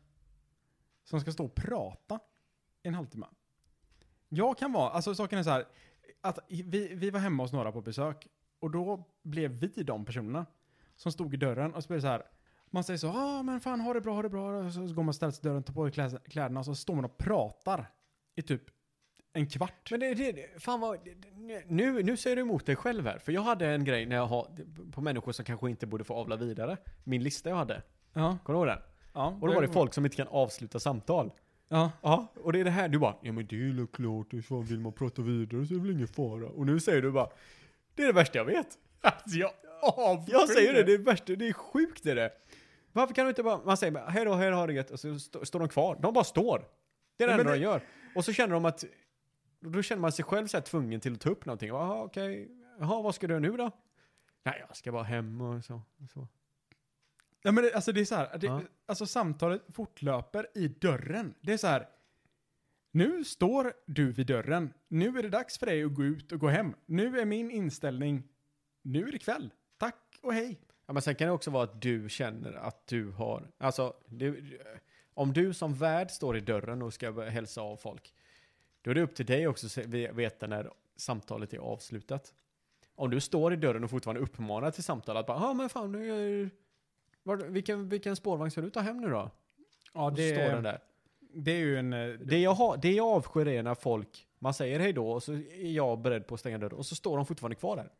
Som ska stå och prata en halvtimme. Jag kan vara, alltså saken är så här, att vi, vi var hemma hos några på besök och då blev vi de personerna som stod i dörren och så blev det så här, man säger så, ja ah, men fan ha det bra, ha det bra, och så, så går man och ställer sig i dörren, tar på sig kläs- kläderna och så står man och pratar i typ en kvart. Men det, det, fan vad, nu, nu säger du emot dig själv här. För jag hade en grej när jag har, på människor som kanske inte borde få avla vidare. Min lista jag hade. Ja, Kommer du ihåg den? ja. Och då var det folk som inte kan avsluta samtal. Ja. Ja, och det är det här du bara, ja men det är väl klart, och så vill man prata vidare så är det väl ingen fara. Och nu säger du bara, det är det värsta jag vet. Alltså jag avskyr Jag säger det, det är det värsta, det är sjukt det är det. Varför kan du inte bara, man säger bara, hej då, hej då, ha det gött, och så st- står de kvar. De bara står. Det är det Ja, men enda de det- gör. Och så känner de att, då känner man sig själv så här tvungen till att ta upp någonting. Jaha, okej, jaha, vad ska du göra nu då? Nej, jag ska bara hem och så. Och så. Ja, men det, alltså det är så här, det, Ja. alltså samtalet fortlöper i dörren. Det är så här, nu står du vid dörren, nu är det dags för dig att gå ut och gå hem. Nu är min inställning, nu är det kväll. Tack och hej. Ja, men sen kan det också vara att du känner att du har, alltså, du, om du som värd står i dörren och ska hälsa av folk, då är det upp till dig också att se- ve- veta när samtalet är avslutat. Om du står i dörren och fortfarande uppmanar till samtal att bara, ja ah, men fan, nu är, var, vilken, vilken spårvagn ska du ta hem nu då? Ja, Och så står den där. det är ju en... eh, Det jag, har, det jag avskyr är när folk, man säger hej då och så är jag beredd på att stänga dörren och så står de fortfarande kvar där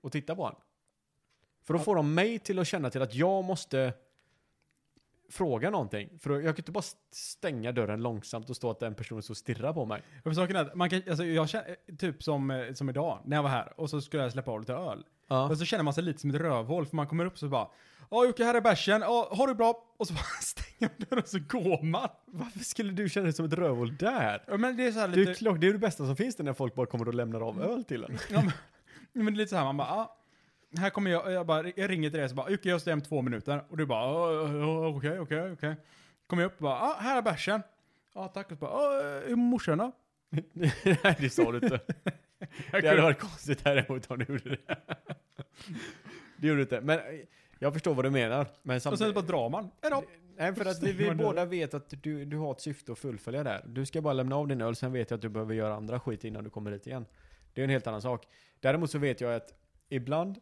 och tittar på honom. För då får de mig till att känna till att jag måste fråga någonting. För då- jag kan inte bara st- stänga dörren långsamt och stå att den personen står och stirrar på mig. För saken är att man kan, alltså jag känner, typ som, eh, som idag, när jag var här och så skulle jag släppa av lite öl. Ja. Och så känner man sig lite som ett rövhål för man kommer upp så bara, ja Jocke här är bärsen, ja ha det bra. Och så bara stänger man dörren och så går man. Varför skulle du känna dig som ett rövhål där? Ja, men det är så här Det är, lite... ju klart, det är det bästa som finns det när folk bara kommer och lämnar av öl till en. Ja, men, men det är lite så här, man bara, ah, här kommer jag, jag, bara, jag ringer till dig så bara, Jocke jag står hem två minuter. Och du bara, "Ah, ja, okej, okej, okej. Kommer jag upp och bara, ah, här är bärsen. Ja, tack. Och så bara, ah, hur är morsan då? Nej, det sa du inte. Det hade varit konstigt däremot om du gjorde det. Det gjorde du inte. Men eh, jag förstår vad du menar. Men Och sen samtidigt... bara drar man. Hej då. Nej, för att vi, Stänger vi man dörren. båda vet att du, du har ett syfte att fullfölja där. Du ska bara lämna av din öl, sen vet jag att du behöver göra andra skit innan du kommer hit igen. Det är en helt annan sak. Däremot så vet jag att ibland,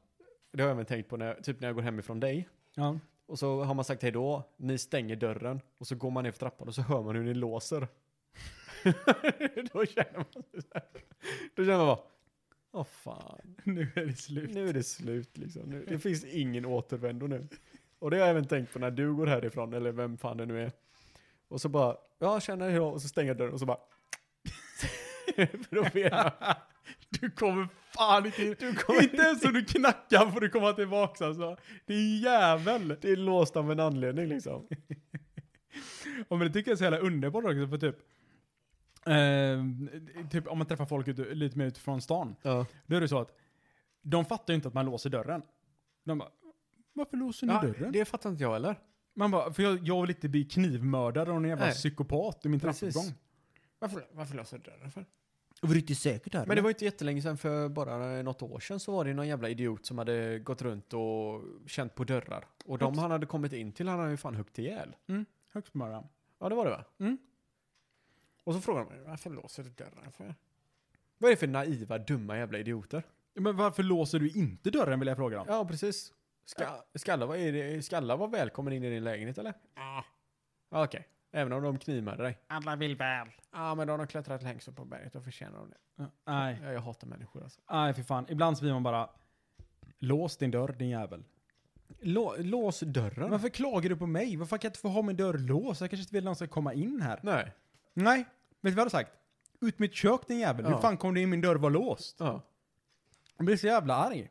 det har jag även tänkt på, när, jag- typ när jag går hemifrån dig, Ja. och så har man sagt hej då, ni stänger dörren, och så går man ner för trappan och så hör man hur ni låser. då känner man så här. Då känner man bara, Åh fan. Nu är det slut. Nu är det slut liksom. Nu, det finns ingen återvändo nu. Och det har jag även tänkt på när du går härifrån, eller vem fan det nu är. Och så bara, ja känner jag och så stänger jag dörren och så bara. För då vet jag. Du kommer fan inte in. Inte ens om du knackar får du komma tillbaka alltså. Det är jävel. Det är låst av en anledning liksom. Och men det tycker jag är så jävla underbart också för typ. Eh, typ om man träffar folk ute, lite mer utifrån stan. Ja. Då är det så att de fattar ju inte att man låser dörren. De bara, varför låser ni dörren? det fattar inte jag eller? Man bara, för jag, jag vill inte bli knivmördad av någon jävla Nej. psykopat i min Precis. trappuppgång. Varför, varför låser du dörren för? Var du inte säker där? Men det var ju inte jättelänge sedan, för bara något år sedan så var det ju någon jävla idiot som hade gått runt och känt på dörrar. Och de han hade kommit in till han hade ju fan huggit ihjäl. mm, högst på morgonen. Ja, det var det va? Mm. Och så frågade man varför låser du dörren för? Vad är det för naiva, dumma jävla idioter? Men varför låser du inte dörren vill jag fråga dem. Ja, precis. Ska, ska, alla, vara- är det, ska alla vara välkommen in i din lägenhet eller? Ja. Ah, Okej, även om de knivmördar dig? Ja, Alla vill väl. ah, men då har de klättrat längst upp på berget och förtjänar de det. Ja, Nej, Ja, jag hatar människor alltså. nej för fan. Ibland så blir man bara, lås din dörr din jävel. Lå, lås dörren? Varför klagar du på mig? Varför kan jag inte få ha min dörr låst? Jag kanske inte vill att någon ska komma in här. Nej. Nej, vet du vad jag hade sagt? Ut mitt kök din jävel. Ja. Hur fan kom du in min dörr var låst? Ja. Jag blir så jävla arg.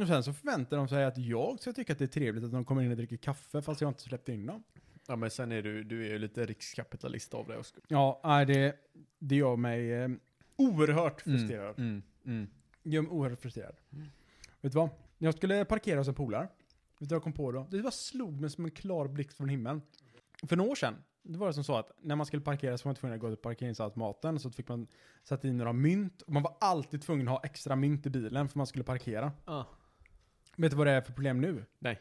Och sen så förväntar de sig att jag ska tycka att det är trevligt att de kommer in och dricker kaffe fast jag inte släppt in dem. Ja men sen är du, du är ju lite rikskapitalist av dig Oskar. Ja, nej, det, det gör mig eh, oerhört frustrerad. Mm, mm. gör mig oerhört frustrerad. Vet du vad? När jag skulle parkera hos en polare, vet du vad jag kom på då? Det bara slog mig som en klar blixt från himlen. För några år sedan, det var det som så att när man skulle parkera så var man tvungen att gå till parkeringsautomaten, så fick man sätta in några mynt. Och man var alltid tvungen att ha extra mynt i bilen för man skulle parkera. Ah. Vet du vad det är för problem nu? Nej.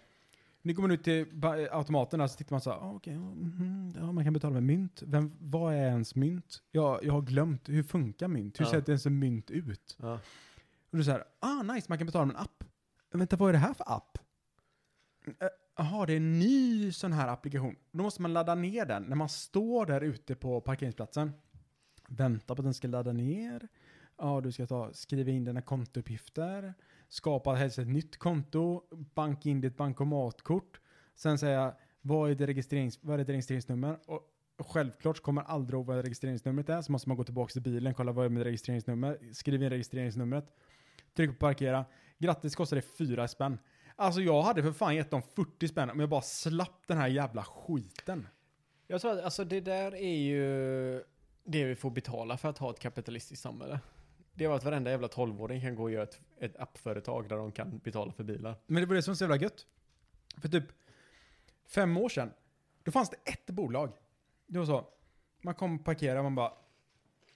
Nu går man ut till ba- automaten där så tittar man så här, ah, okej, ja, mhm, ja, man kan betala med mynt. Vem, vad är ens mynt? Jag, jag har glömt, hur funkar mynt? Hur Ja. ser ens en mynt ut? Ja. Och du säger, ah nice, man kan betala med en app. Vänta, vad är det här för app? Eh, Jaha, det är en ny sån här applikation. Då måste man ladda ner den när man står där ute på parkeringsplatsen. Vänta på att den ska ladda ner. Ja, du ska ta, skriva in dina kontouppgifter. Skapa helst ett nytt konto. Banka in ditt bankomatkort. Sen säga, vad är det, registrerings, vad är det registreringsnummer? Och självklart så kommer aldrig ihåg vad registreringsnumret är. Så måste man gå tillbaka till bilen, kolla vad är mitt registreringsnummer. Skriv in registreringsnumret. Tryck på parkera. Grattis kostar det fyra spänn. Alltså jag hade för fan gett dem 40 spänn om jag bara slapp den här jävla skiten. Jag tror att alltså, det där är ju det vi får betala för att ha ett kapitalistiskt samhälle. Det är att varenda jävla tolvåring kan gå och göra ett, ett appföretag där de kan betala för bilar. Men det var det som var så jävla gött. För typ fem år sedan, då fanns det ett bolag. Det var så, man kom och parkerade, man bara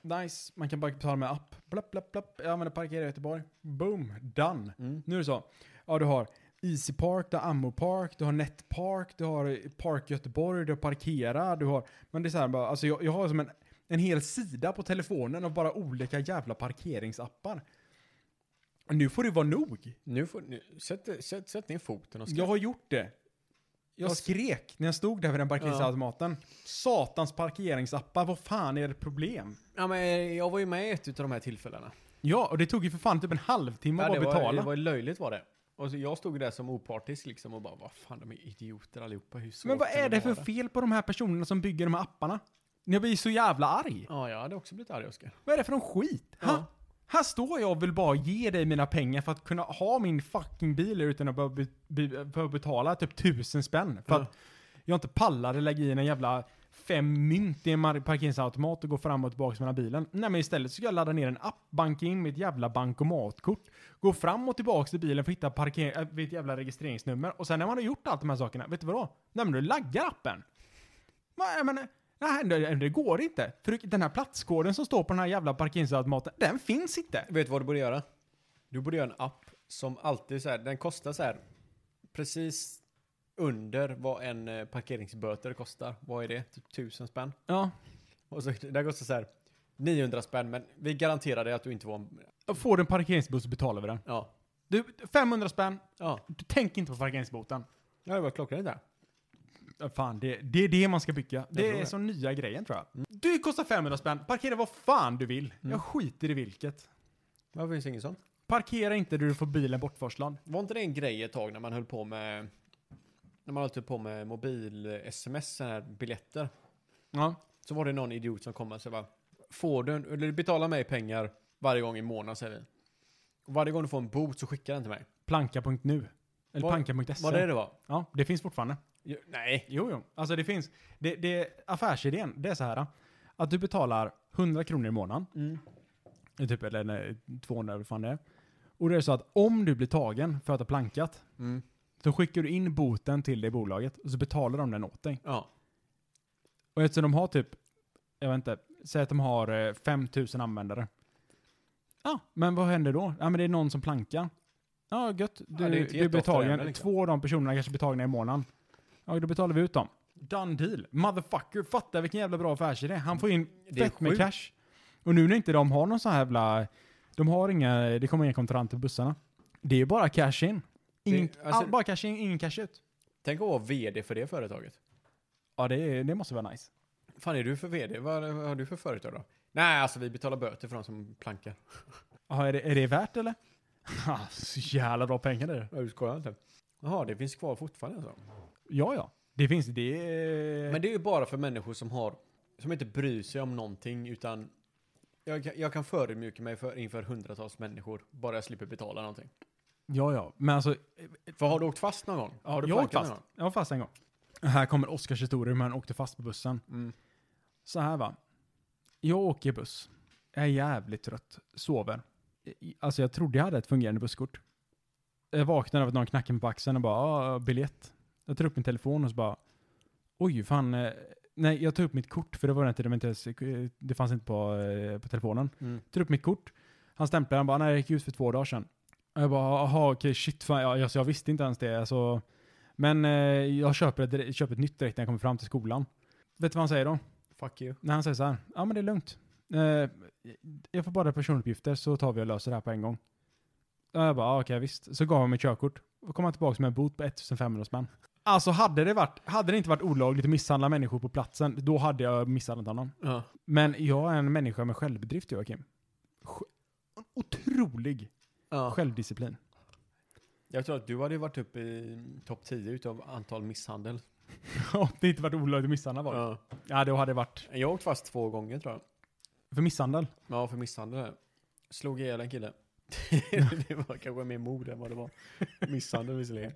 nice, man kan bara betala med app. Blapp, blapp, blapp, jag använder parkera i Göteborg. Boom, done. Nu är det så, ja du har Easy Park, du har Ammo Park, du har Net Park, du har Park Göteborg, du har Parkera, du har... Men det är så här bara, alltså jag, jag har som en, en hel sida på telefonen av bara olika jävla parkeringsappar. Och nu får det vara nog. Nu får, nu, sätt, sätt, sätt ner foten och Jag har gjort det. Jag Jag- skrek när jag stod där vid den parkeringsautomaten. Satans parkeringsappar, vad fan är det problem? ja, men Jag var ju med i ett av de här tillfällena. Ja, och det tog ju för fan typ en halvtimme att det, bara var, betala. det var löjligt var det. Och så jag stod där som opartisk liksom och bara, vad fan de är idioter allihopa. Hur svårt Men vad kan är det för vara?" fel på de här personerna som bygger de här apparna? Jag blir så jävla arg. Ja, jag hade också blivit arg Oskar. Vad är det för någon skit? Ja. Ha? Här står jag och vill bara ge dig mina pengar för att kunna ha min fucking bil utan att behöva, be, be, behöva betala typ tusen spänn. För Ja. att jag inte pallade lägga i en jävla fem mynt i en mar- parkeringsautomat och gå fram och tillbaka mellan bilen. Nej men istället så ska jag ladda ner en app, banka in mitt jävla bankomatkort, gå fram och tillbaka till bilen för att hitta parker- äh, mitt jävla registreringsnummer. Och sen när man har gjort allt de här sakerna, vet du vad då? Nej men du laggar appen. Va, jag menar, nej, det, det går inte. För den här platskoden som står på den här jävla parkeringsautomaten, den finns inte. Vet du vad du borde göra? Du borde göra en app som alltid så här, den kostar så här precis under vad en eh, parkeringsböter kostar. Vad är det? Typ tusen spänn. Ja. Och så den kostar så här 900 spänn, men vi garanterar dig att du inte var en... Får du en parkeringsbot så betalar vi den. Ja. Du, 500 spänn. Ja. Du tänker inte på parkeringsboten. Ja, det var klockrent där. Ja, Fan, det, det är det man ska bygga. Det tror är det. som nya grejen tror jag. Du Mm. kostar 500 spänn, parkera vad fan du vill. Jag skiter i vilket. Varför finns det ingen sån? Parkera inte där du får bilen bortforslad. Var inte det en grej ett tag när man höll på med när man höll typ på med mobil-sms, såna här biljetter. Ja. Så var det någon idiot som kom och sa bara, får du, en, eller du betalar mig pengar varje gång i månaden säger vi. Och varje gång du får en bot så skickar den till mig. Planka.nu. Eller Var- planka.se. Vad det det var? Ja, det finns fortfarande. Jo, nej. Jo, jo. Alltså det finns. Det, det, affärsidén, det är så här. Att du betalar 100 kronor i månaden. Mm. Eh, Typ, eller nej, 200 eller vad fan det är. Och det är så att om du blir tagen för att ha plankat, Mm. så skickar du in boten till det bolaget och så betalar de den åt dig. Ja. Och eftersom de har typ, jag vet inte, säg att de har eh, 5000 användare. Ja, men vad händer då? Ja men det är någon som plankar. Ja, gött. Du, Ja, det är inte du blir jätteofta det tagen. händer, liksom. Två av de personerna kanske blir tagna i månaden. Ja, då betalar vi ut dem. Done deal. Motherfucker, fatta vilken jävla bra affärsidé. Han får in Det är fett med sjukt. cash. Och nu när inte de har någon sån här jävla, de har inga, det kommer inga kontrant till bussarna. Det är ju bara cash in. Ingen, Det- alltså- all, bara cash in, ingen cash ut. Tänk att vara vd för det företaget. Ja, det, är- det måste vara nice. fan är du för vd? Vad, vad har du för företag då? Nej, alltså vi betalar böter för de som plankar. Jaha, är det, är det värt eller? Ha, Ah, så jävla bra pengar det är. Ja, du skojar inte. Jaha, det finns kvar fortfarande alltså. Ja, ja. Det finns det. är- Men det är ju bara för människor som har, som inte bryr sig om någonting utan jag, kan- jag kan förödmjuka mig för, inför hundratals människor bara jag slipper betala någonting. Ja, ja. Men alltså, För har du åkt fast någon gång? Har du jag åkte plankat fast. någon Jag var fast en gång. Här kommer Oskars historia hur han åkte fast på bussen. gång? Mm. Så här va. Jag åker buss. Jag är jävligt trött. Sover. I- Alltså jag trodde jag hade ett fungerande busskort. Jag vaknade av att någon knackade mig på axeln och bara ah, biljett. Jag tar upp min telefon och så bara oj fan. eh, Nej, jag tar upp mitt kort för det var den tiden de inte ens, det fanns inte på, eh, på telefonen. Mm. tar upp mitt kort. Han stämplar, han bara, nej det gick ut för två dagar sedan. Och jag bara, jaha okej shit, fan, jag, alltså, jag visste inte ens det. Alltså. Men eh, jag köper ett, direkt- köper ett nytt direkt när jag kommer fram till skolan. Vet du vad han säger då? Fuck you. När han säger så här, ja men det är lugnt. Eh, jag får bara personuppgifter så tar vi och löser det här på en gång. Och jag bara, ah, okej visst. Så gav han mig körkort. Och kom han tillbaka med en bot på 1500 spänn. Alltså hade det, varit, hade det inte varit olagligt att misshandla människor på platsen, då hade jag misshandlat honom. Ja. Men jag är en människa med självdrift, Joakim. Sj- en Otrolig Ja. självdisciplin. Jag tror att du hade varit uppe i topp 10 utav antal misshandel. Om det inte varit olagligt att misshandla var det. Ja. Ja, då hade det varit Jag har åkt fast två gånger tror jag. för misshandel. Ja, för misshandel. Slog ihjäl en kille. det var kanske mer mord än vad det var. Misshandel visserligen.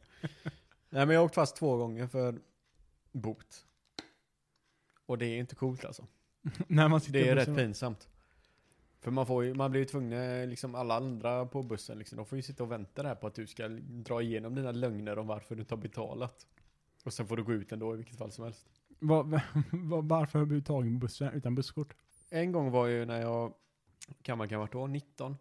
Nej, men jag har åkt fast två gånger för bot. Och det är inte coolt alltså. När man sitter Det i är bussen. rätt pinsamt. För man, får ju, man blir ju tvungen, liksom alla andra på bussen, liksom, de får ju sitta och vänta där på att du ska dra igenom dina lögner om varför du inte har betalat. Och sen får du gå ut ändå i vilket fall som helst. Vad- vad- Varför har du blivit tagen på bussen utan busskort? En gång var ju när jag, kan man kan ha varit då, 19.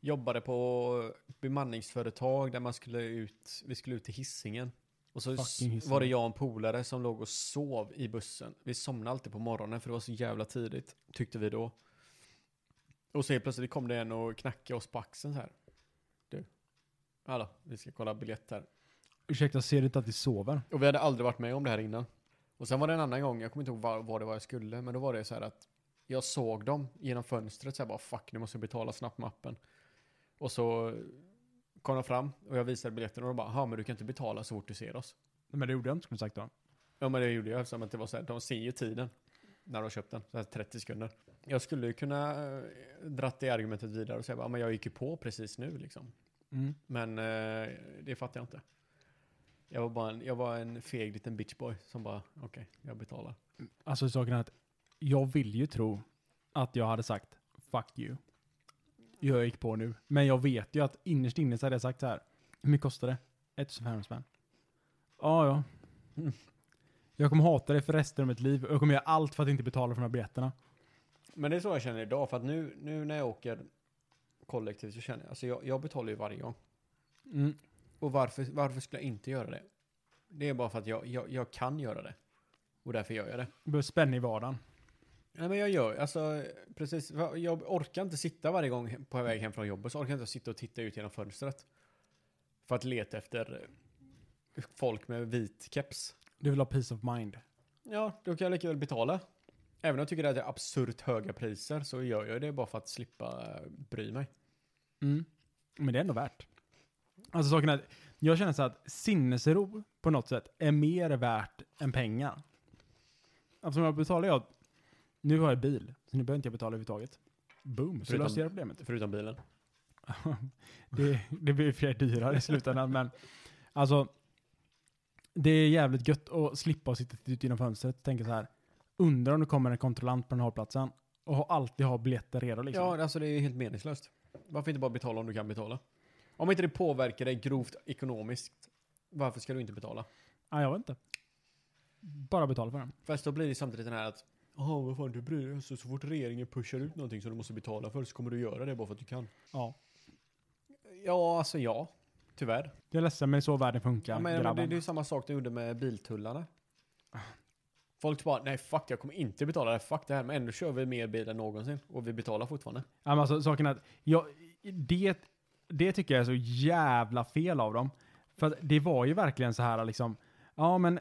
Jobbade på bemanningsföretag där man skulle ut, vi skulle ut till hissingen. Och så s- Fucking Hisingen. var det jag och en polare som låg och sov i bussen. Vi somnade alltid på morgonen för det var så jävla tidigt, tyckte vi då. Och så helt plötsligt kom det en och knackade oss på axeln så här. Du, hallå, vi ska kolla biljetter. Ursäkta, ser du inte att vi sover? Och vi hade aldrig varit med om det här innan. Och sen var det en annan gång, jag kommer inte ihåg vad, vad det var jag skulle, men då var det så här att jag såg dem genom fönstret så här bara fuck, nu måste jag betala snabbt med appen. Och så kom de fram och jag visade biljetten och de bara, ja men du kan inte betala så fort du ser oss. Nej, Men det gjorde jag inte, skulle jag sagt då. Ja men det gjorde jag eftersom att det var så här, de ser ju tiden när de har köpt den, så här 30 sekunder. Jag skulle ju kunna eh, dratt det argumentet vidare och säga, ja men jag gick ju på precis nu liksom. Mm. Men eh, det fattar jag inte. Jag var, bara en, jag var en feg liten bitchboy som bara, okej, jag betalar. Alltså saken är att jag vill ju tro att jag hade sagt fuck you. Jag gick på nu. Men jag vet ju att innerst inne så hade jag sagt så här. Hur mycket kostar det? 1500 spänn. Ja, ja. Mm. Jag kommer hata det för resten av mitt liv och jag kommer göra allt för att inte betala för de här biljetterna. Men det är så jag känner idag, för att nu, nu när jag åker kollektivt så känner jag, alltså jag, jag betalar ju varje gång. Mm. Och varför, varför skulle jag inte göra det? Det är bara för att jag, jag, jag kan göra det. Och därför gör jag det. Jag behöver spänna i vardagen. Nej men jag gör, alltså precis, jag orkar inte sitta varje gång på väg hem från jobbet så orkar jag inte sitta och titta ut genom fönstret. För att leta efter eh, folk med vit keps. Du vill ha peace of mind. Ja, då kan jag lika väl betala. Även om jag tycker att det är absurt höga priser så gör jag det bara för att slippa eh, bry mig. Men det är ändå värt. Alltså saken är att jag känner så att sinnesro på något sätt är mer värt än pengar. Eftersom jag betalar jag, nu har jag bil, så nu behöver inte jag betala överhuvudtaget. Boom, så Förutom- löser jag problemet. Förutom bilen. det, det blir för sig dyrare i slutändan, men alltså det är jävligt gött att slippa sitta ut genom fönstret och tänka så här. Undrar om det kommer en kontrollant på den här hållplatsen och ha- alltid ha biljetter redo liksom. Ja, alltså det är ju helt meningslöst. Varför inte bara betala om du kan betala? Om inte det påverkar dig grovt ekonomiskt, varför ska du inte betala? Ja, jag vet inte. Bara betala för den. Fast då blir det samtidigt den här att Jaha, vad fan du bryr dig? Så, så fort regeringen pushar ut någonting som du måste betala för så kommer du göra det bara för att du kan. Ja. Ja, alltså ja. Tyvärr. Jag är ledsen men det är så världen funkar Ja, men, grabbar. det, det är ju samma sak de gjorde med biltullarna. Folk bara, nej fuck jag kommer inte betala det här, fuck det här. Men ändå kör vi mer bil än någonsin. Och vi betalar fortfarande. Ja, men alltså, saken är att jag, det, det tycker jag är så jävla fel av dem. För att det var ju verkligen så här liksom, ja men,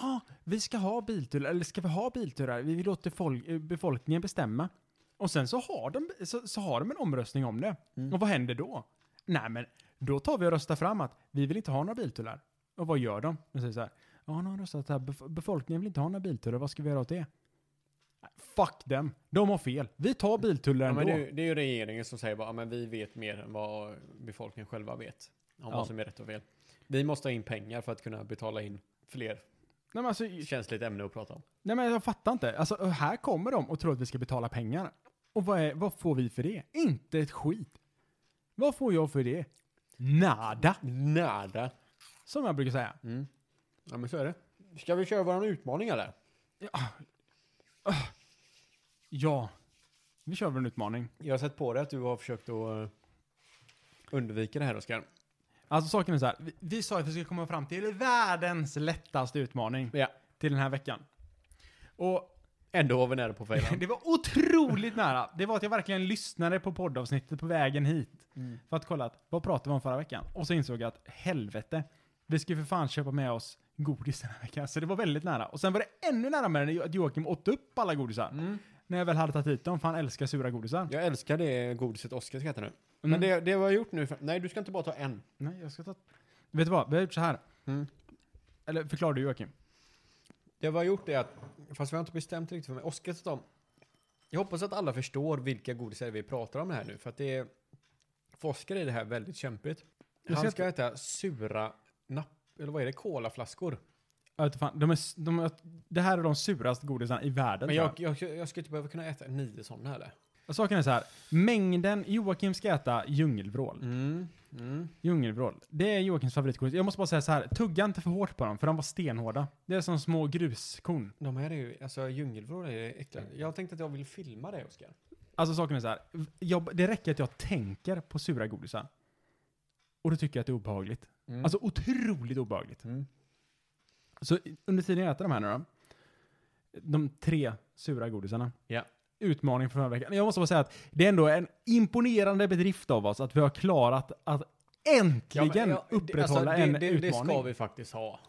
ja, vi ska ha bilturer, eller ska vi ha bilturer? Vi låter folk, eh, befolkningen bestämma. Och sen så har de, så, så har de en omröstning om det. Mm. Och vad händer då? Nej men, då tar vi och röstar fram att vi vill inte ha några bilturer. Och vad gör de? De säger så här, ja nu har de röstat här, bef- befolkningen vill inte ha några bilturer, vad ska vi göra åt det? Nej, Fuck dem, de har fel. Vi tar biltuller Ja, ändå. men det, är ju- det är ju regeringen som säger bara, "Ja, men vi vet mer än vad befolkningen själva vet. Om Ja. vad som är rätt och fel. Vi måste ha in pengar för att kunna betala in fler Nej men, alltså, känsligt ämne att prata om. nej men jag fattar inte. Alltså, här kommer de och tror att vi ska betala pengar. Och vad, är, vad får vi för det? Inte ett skit. Vad får jag för det? Nada, Nada. som jag brukar säga. Mm. Ja men så är det. Ska vi köra våran utmaning eller? Ja, vi kör väl en utmaning. Jag har sett på dig att du har försökt att eh, undvika det här Oskar. Alltså saken är så här. Vi, vi sa att vi skulle komma fram till världens lättaste utmaning Ja. till den här veckan. Och Ändå var vi nära på failan. Det var otroligt nära. Det var att jag verkligen lyssnade på poddavsnittet på vägen hit. Mm. För att kolla, att, vad pratade vi om förra veckan? Och så insåg jag att helvete, vi ska ju för fan köpa med oss godis den här veckan. Så det var väldigt nära. Och sen var det ännu närmare när Jo- att Joakim åt upp alla godisar. Mm. När jag väl hade tagit hit dem, för han älskar sura godisar. Jag älskar det godiset Oskar ska äta nu. Mm. Men det, det jag har gjort nu, nej du ska inte bara ta en. Nej, jag ska ta... Vet du vad? Vi har gjort så här. Mm. Eller förklara du Joakim. Det vi har gjort är att, fast vi har inte bestämt riktigt för mig, Oskar sa om- Jag hoppas att alla förstår vilka godisar vi pratar om här nu, för att det är... För Oskar är det här väldigt kämpigt. Jag ser Han ska äta sura napp... Eller vad är det? Kolaflaskor. Jag vet inte fan, de är, s- de är, det här är de suraste godisarna i världen. Men tror jag, jag, jag ska inte behöva kunna äta nio sådana eller? jag. Saken är så här. Mängden Joakim ska äta djungelvrål. Mm. Mm. Djungelvrål. Det är Joakims favoritgodis. Jag måste bara säga så här, tugga inte för hårt på dem, för de var stenhårda. Det är som små gruskorn. De här är ju... Alltså djungelvrål är äckliga. Jag tänkte att jag vill filma det, Oskar. Alltså saken är så här, jag, det räcker att jag tänker på sura godisar. Och då tycker jag att det är obehagligt. Mm. Alltså otroligt obehagligt. Mm. Så i- under tiden jag äter de här nu då, de tre sura godisarna. Ja. Utmaning för den här veckan. Jag måste bara säga att det är ändå en imponerande bedrift av oss att vi har klarat att Ja, men äntligen ja, det- upprätthålla alltså, det, en det, utmaning. Det ska vi faktiskt ha.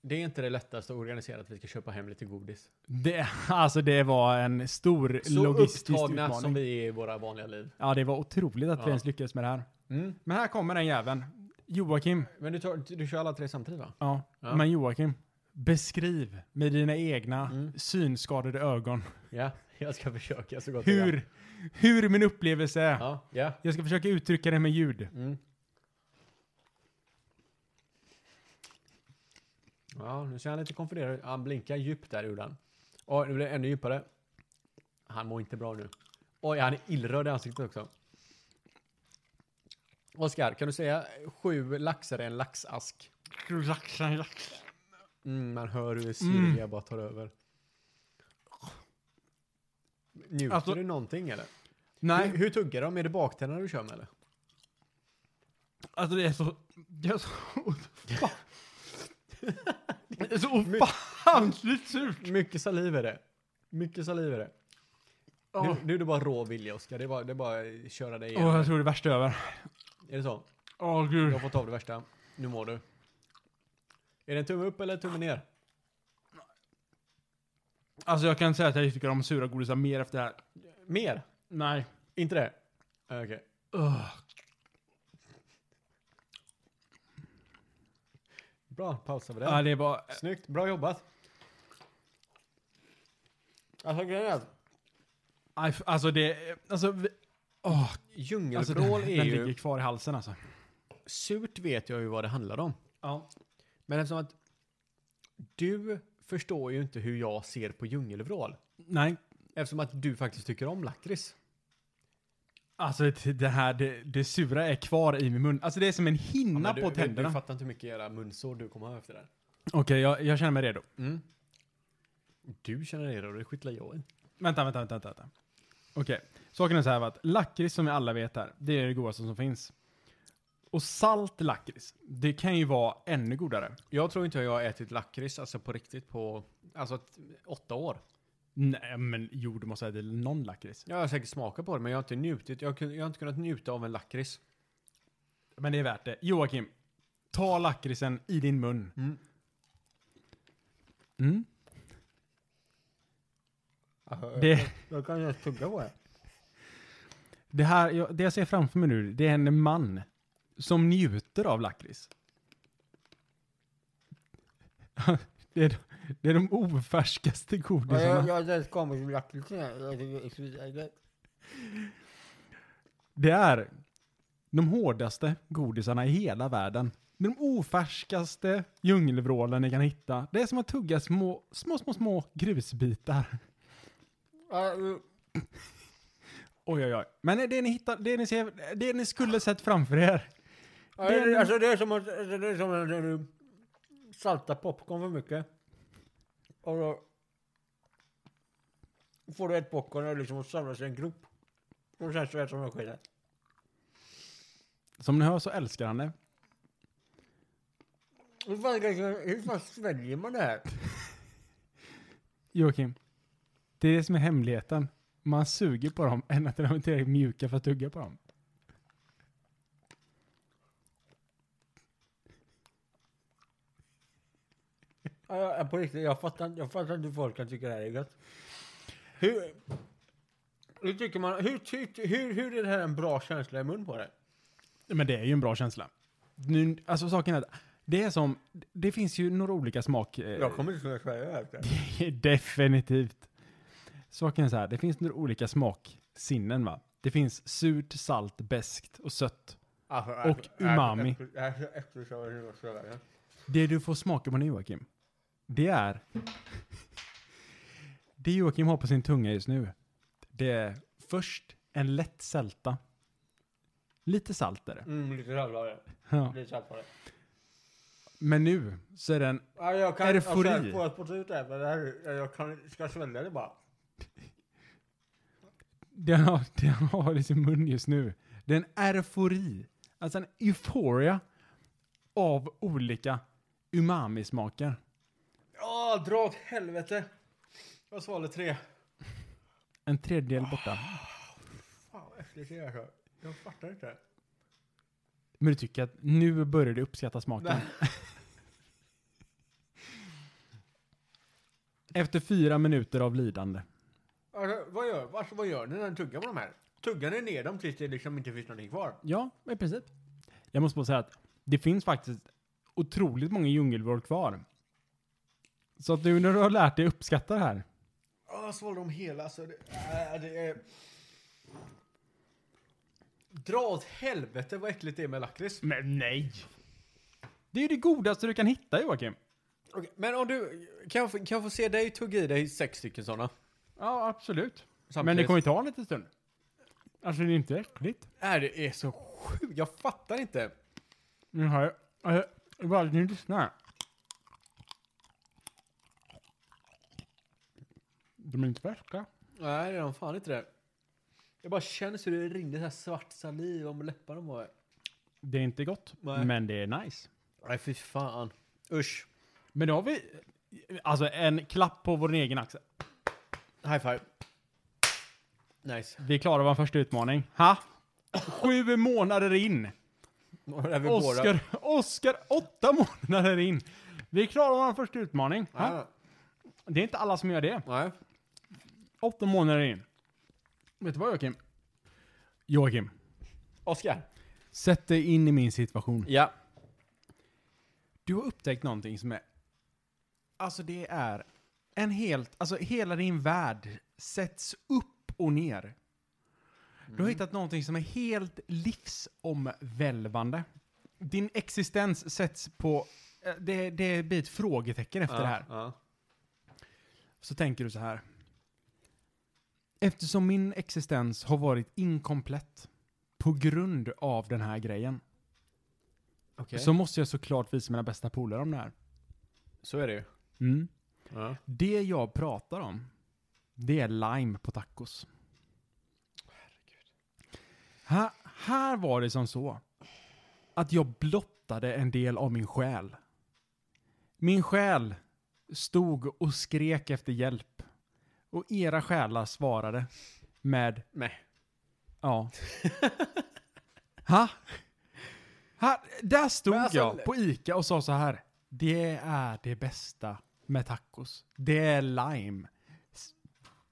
Det är inte det lättaste att organisera att vi ska köpa hem lite godis. Det, alltså det var en stor Så logistisk upptagna utmaning. som vi är i våra vanliga liv. Ja, det var otroligt att vi Ja. ens lyckades med det här. Men här kommer den jäveln. Joakim. Mm. Men du, tar, du kör alla tre samtidigt va? Ja, Ja. men Joakim. Beskriv med dina egna Mm. synskadade ögon Ja, jag ska försöka så gott jag kan. hur, hur min upplevelse är. Ja, ja. Jag ska försöka uttrycka det med ljud. Mm. Ja, nu ser han lite konfunderad ut. Han blinkar djupt där gjorde han. Oj, nu blir det ännu djupare. Han mår inte bra nu. Oj, han är illröd i ansiktet också. Oskar, kan du säga sju laxar i en laxask? Mm, man hör hur syrliga bara tar över. Njuter Alltså- du någonting eller? Nej, Hur, hur tuggar de? Är det baktänderna du kör med eller? alltså det är så... Det är så... Fan. Det är så My- ofantligt surt. Mycket saliv är det. Mycket saliv är det. Åh, Nu, nu är det bara rå vilja, Oskar. Det är bara, det är bara att köra dig igenom. Åh, jag tror det värsta är över. Är det så? Åh Jag gud. har fått av det värsta. Nu mår du. Är det en tumme upp eller tumme ner? Alltså jag kan säga att jag tycker om sura godisar mer efter det här. Mer? Nej. Inte det? Okej. Ugh. Bra, pausar vi Ja, där. det är bara... Snyggt, bra jobbat. Alltså grejen är att Aj, f- Alltså det... Alltså... Vi, åh, alltså djungelvrål den, är den ju... ligger kvar i halsen alltså. Surt vet jag ju vad det handlar om. Ja. Men eftersom att du förstår ju inte hur jag ser på djungelvrål. Nej. Eftersom att du faktiskt tycker om lakrits. Alltså det- det här, det, det sura är kvar i min mun. Alltså det är som en hinna du, på du, du tänderna. fattar inte hur mycket era munsår du kommer ha efter det här. Okej, jag, jag känner mig redo. Mm. Du känner dig då, det skitlar jag i. Vänta, vänta, vänta. vänta, vänta. Okej, saken är så här va, att lakrits som vi alla vet här, det är det godaste som finns. Och salt lakrits, det kan ju vara ännu godare. Jag tror inte jag har ätit lakrits, alltså på riktigt, på alltså ett, åtta år. Nej, men jo, du måste ha ätit någon lakrits. Jag har säkert smakat på det, men jag har inte njutit. Jag, har kun- jag har inte kunnat njuta av en lakrits. Men det är värt det. Joakim, ta lakritsen i din mun. Mm. Mm. Alltså, Det, Jag kan inte tugga på det. det här, jag, det jag ser framför mig nu, det är en man som njuter av lakrits. Det är, det är de ofärskaste godisarna. Jag har inte kommit till lakritsen än. Jag tycker det är skitgott. Det är de hårdaste godisarna i hela världen. De ofärskaste djungelvrålen ni kan hitta. Det är som att tugga små, små, små, små grusbitar. Ja, jo. Oj, oj, oj. Men det ni, hittar, det ni, ser, det ni skulle sett framför er. Ja, Det är- Alltså det är som att alltså, det är som att du saltar popcorn för mycket. Och då får du ett popcorn och det är liksom att samlas i en grop. Och sen så äter man skiten. Som ni hör så älskar han det. Hur fan, hur fan sväljer man det här? Joakim, det är det som är hemligheten. Man suger på dem ända till de är tillräckligt mjuka för att tugga på dem. Ja, ja, på riktigt, jag fattar, inte- jag fattar inte hur folk kan tycka det här är gött. Hur, hur tycker man, hur, hur, hur, hur är det här en bra känsla i mun på det? Men det är ju en bra känsla. Nu, alltså saken är att det är som, det finns ju några olika smak... eh, Jag kommer inte kunna svälja det här. tror jag. Definitivt. Saken är så här, det finns några olika smaksinnen va? Det finns surt, salt, beskt och sött. Alltså, Och alltså, umami. alltså, Det här är så äckligt så jag vill inte svälja det. Det du får smaka på nu Joakim, det är... Det Joakim har på sin tunga just nu, det är först en lätt sälta. Lite salt är det. Mm, lite salt var det. Ja. Lite salt var det. Men nu så är den... Ja, jag kan, Eufori. Jag får jag spotta ut det här, men det här, är- jag kan, ska svälja det bara. Det han har, det han har i sin mun just nu, det är en eufori. Alltså en euphoria av olika umami-smaker. Ja, dra åt helvete. Jag svalde tre. En tredjedel borta. Fan vad äckligt det är alltså. Jag fattar inte. Men du tycker att nu börjar du uppskatta smaken. Efter fyra minuter av lidande. Alltså, vad, gör, alltså, vad gör ni när ni tuggar på de här? Tuggar ni ner dem tills det liksom inte finns någonting kvar? Ja, i princip. Jag måste bara säga att det finns faktiskt otroligt många djungelvrål kvar. Så att nu när du har lärt dig uppskatta det här. Ja, jag svalde dem hela alltså, så det, äh, det är... Dra åt helvete vad äckligt det är med lakrits. Men nej! Det är ju det godaste du kan hitta Joakim. Okej, men om du, kan jag, få, kan jag få se dig tugga i dig sex stycken sådana? Ja, absolut. Samtidigt. Men det kommer ju ta en liten stund. Alltså det är inte äckligt. Nej, det är så sjukt. Jag fattar inte. Nu har jag... Jag jag bara nu lyssnar. De är inte färska. Nej, det är de fan inte det. Jag bara känner hur det rinner så här svart saliv om läpparna på mig. Det är inte gott, Nej. men det är nice. Nej, fy fan. Usch. Men då har vi... Alltså en klapp på vår egen axel. High five. Nice. Vi klarar vår första utmaning. Ha! Sju månader in! Och där vi båda- Oskar, Oskar, åtta månader in! Vi klarar vår första utmaning. Ha? Ja, Det är inte alla som gör det. Nej. Åtta månader in. Vet du vad Joakim? Joakim, Oskar. sätt dig in i min situation. Ja. Du har upptäckt någonting som är... Alltså det är en helt... Alltså hela din värld sätts upp och ner. Du Mm. har hittat någonting som är helt livsomvälvande. Din existens sätts på... eh, Det, det blir ett frågetecken efter ja, det här. Ja. Så tänker du så här. Eftersom min existens har varit inkomplett på grund av den här grejen Okej. så måste jag såklart visa mina bästa polare om det här. Så är det ju. Mm. Ja. Det jag pratar om, det är lime på tacos. Här, här var det som så att jag blottade en del av min själ. Min själ stod och skrek efter hjälp. Och era själar svarade med Nej. ja. ha? ha? Där stod Men alltså- jag på Ica och sa så här. Det är det bästa med tacos. Det är lime. S-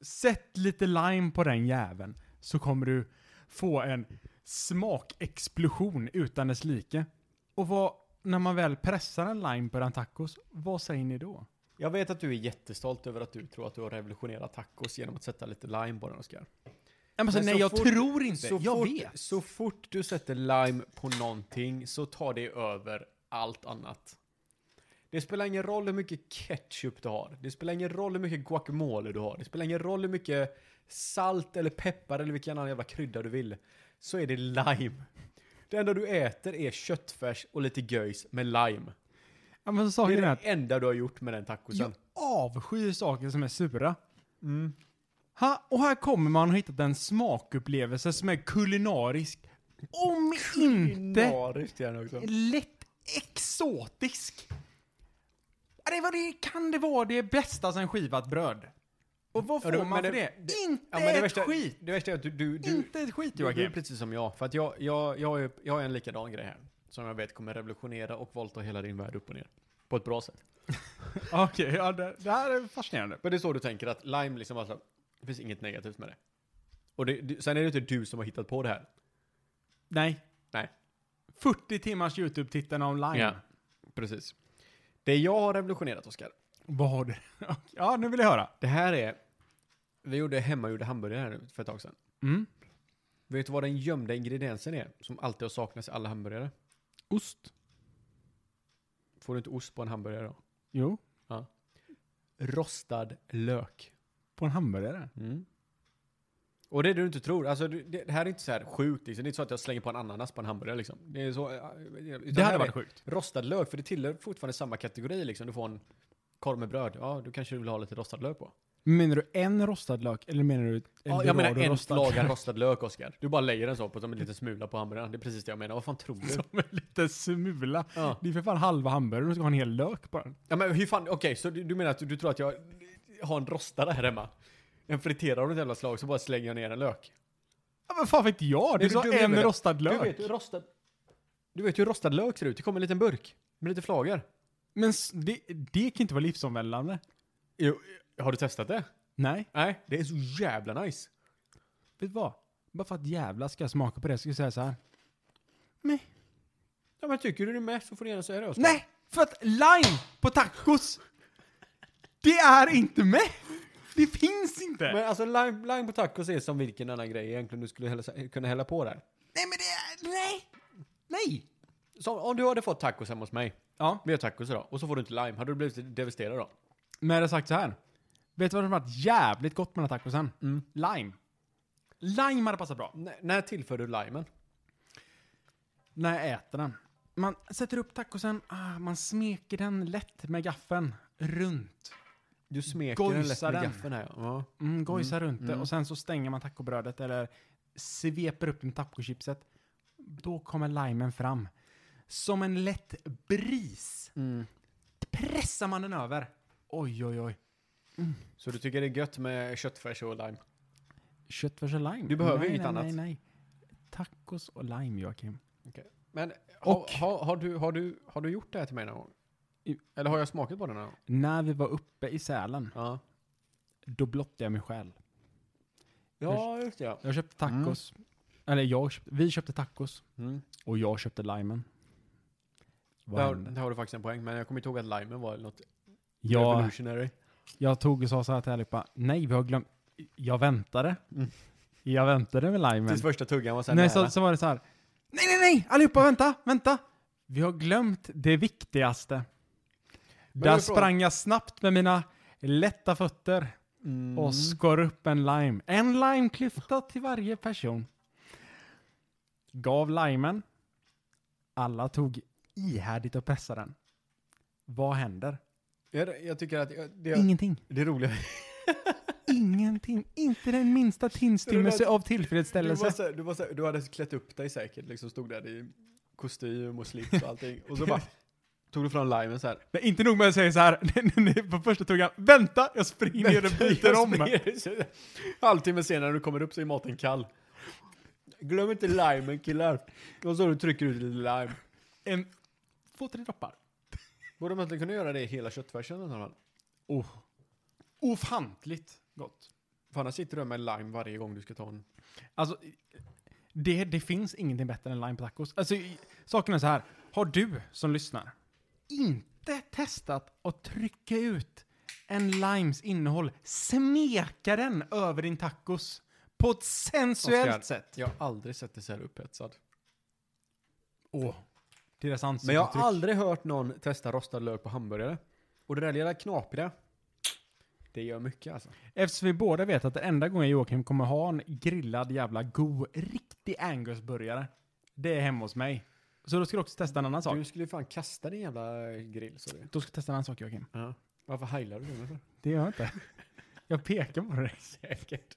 Sätt lite lime på den jäveln så kommer du få en smakexplosion utan dess like. Och vad, när man väl pressar en lime på den tacos, vad säger ni då? Jag vet att du är jättestolt över att du tror att du har revolutionerat tacos genom att sätta lite lime på den, Oskar. Men Alltså, nej, så jag fort- tror inte. Så, jag fort- vet. så fort du sätter lime på någonting så tar det över allt annat. Det spelar ingen roll hur mycket ketchup du har. Det spelar ingen roll hur mycket guacamole du har. Det spelar ingen roll hur mycket salt eller peppar eller vilken annan jävla krydda du vill. Så är det lime. Det enda du äter är köttfärs och lite göjs med lime. Ja, men Det saken är är det att enda du har gjort med den jag tacosen. avskyr saker som är sura. Mm. Ha, och här kommer man och hittat en smakupplevelse som är kulinarisk. Om inte Kulinariskt gärna också. lätt exotisk. Ja, Det, var det kan det vara det bästa sen skivat bröd? Och vad Ja, får du- man men för det- det? Inte Ja, men det ett värsta- skit! Mm. Det värsta är att du, du, du, Inte ett skit du, du är Joakim. precis som jag. För att jag, jag, jag, är, jag är en likadan grej här. Som jag vet kommer revolutionera och våldta hela din värld upp och ner. På ett bra sätt. Okej, ja, det, det här är fascinerande. Men det är så du tänker att lime liksom, alltså, det finns inget negativt med det. Och det, det, sen är det inte du som har hittat på det här. Nej. Nej. 40 timmars YouTube-tittande online. Ja. Precis. Det jag har revolutionerat, Oskar. Vad har du? ja, nu vill jag höra. Det här är... Vi gjorde hemmagjorda hamburgare här nu för ett tag sedan. Mm. Vet du vad den gömda ingrediensen är? Som alltid har saknats i alla hamburgare. Ost. Får du inte ost på en hamburgare då? Jo. Rostad lök. På en hamburgare? Mm. Och det är det du inte tror. Alltså, du- det, det här är inte så här sjukt. Liksom. Det är inte så att jag slänger på en ananas på en hamburgare. Liksom. Det, är så, eh, Det utan här hade är varit sjukt. Rostad lök, för det tillhör fortfarande samma kategori. Liksom. Du får en korv med bröd. Ja, du kanske vill ha lite rostad lök på. Menar du en rostad lök eller menar du en Ja, jag menar Dorado en rostad lagad lök? rostad lök, Oskar. Du bara lägger den så på som en liten smula på hamburgaren. Det är precis det jag menar. Vad fan tror du? Som en liten smula. Ja. Det är för fan halva hamburgaren och ska ha en hel lök på den. Ja, men hur fan... Okej, så du, du menar att du, du tror att jag har en rostare här hemma? En friterad av något jävla slag, så bara slänger jag ner en lök. Ja, men fan vet jag? Du Nej, men sa du menar en det. rostad lök. Du vet, hur rostad, du vet hur rostad lök ser ut. Det kommer en liten burk med lite flagor. Men s- det, det kan inte vara livsomvälvande. Jo, har du testat det? Nej. Nej, det är så jävla nice. Vet du vad? Bara för att jävla ska jag smaka på det ska jag säga så här. Nej. Ja, men tycker du det är med så får du gärna säga det. Oskar. Nej! För att lime på tacos, det är inte med! Det finns inte! Men alltså lime, lime på tacos är som vilken annan grej egentligen du skulle hälla, kunna hälla på där. nej men det är... Nej! Nej! Så om du hade fått tacos hemma hos mig, Ja. vi har tacos idag, och så får du inte lime, hade du blivit devasterad då? Men jag har sagt så här. Vet du vad som hade varit jävligt gott med den här tacosen? Lime. Lime hade passat bra. N- när tillför du limen? När jag äter den. Man sätter upp tacosen, ah, man smeker den lätt med gaffeln. Runt. Du smeker den lätt Gojsar med den. gaffeln här. Ja. Mm, gojsar runt det och sen så stänger man tacobrödet eller sveper upp med tacochipset. Då kommer limen fram. Som en lätt bris. Mm. Pressar man den över. Oj, oj, oj. Så du tycker det är gött med köttfärs och lime? Köttfärs och lime. Du behöver nej, inget nej, annat. Nej, nej. Tacos och lime, Joakim. Men Och- ha, ha, har, du, har, du, har du gjort det här till mig någon gång? I- Eller har jag smakat på den någon gång? När vi var uppe i Sälen, Ja. då blottade jag mig själv. Ja, just det. Ja. Jag köpte Mm. tacos. Eller jag köpte, vi köpte tacos. Mm. Och jag köpte limen. Vad Där, hände? där har du faktiskt en poäng, men jag kommer inte ihåg att limen var något Jag, revolutionary. jag tog och sa så här till allihopa, nej vi har glömt, jag väntade. Mm. Jag väntade med limen. Tills första tuggan var så här Nej, nära. så, så var det så här, nej nej nej, allihopa vänta, vänta. Vi har glömt det viktigaste. det är Där bra. sprang jag snabbt med mina lätta fötter. Mm. och skar upp en lime. En limeklyfta till varje person. Gav limen. Alla tog ihärdigt och pressade den. Vad händer? jag, jag tycker att jag- det, Ingenting. det roliga Ingenting. Inte den minsta tinstymmelse av Du var, tillfredsställelse. så, du, var så, du hade klätt upp dig säkert, liksom stod där i kostym och slips och allting. Och så bara tog du fram limen så här. Nej, inte nog med att säga så här. Nej, nej, nej, på första tuggan. Vänta, jag springer ner och byter Jag om. springer. Halvtimme senare när du kommer upp så är maten kall. Glöm inte limen killar. Och så du trycker ut lite lime. En, två, tre droppar. Borde man inte kunna göra det i hela köttfärsen i alla fall? Oh. Ofantligt gott. För annars sitter du där med lime varje gång du ska ta en. Alltså, det, det finns ingenting bättre än lime tacos. Alltså, i- saken är så här. Har du som lyssnar inte testat att trycka ut en limes innehåll, smeka den över din tacos på ett sensuellt Oskar. sätt. Jag har aldrig sett dig så här upphetsad. Åh, deras Men jag ansiktsuttryck. har aldrig hört någon testa rostad lök på hamburgare. Och det där lilla knapriga. Det gör mycket alltså. Eftersom vi båda vet att den enda gången Joakim kommer ha en grillad jävla god, riktig Angus-burgare, det är hemma hos mig. Så då ska du också testa en annan sak. Du skulle ju fan kasta din jävla grill sa du. Då ska du testa en annan sak Joakim. Varför heilar du mig för? Det gör jag inte. Jag pekar på dig. Säkert.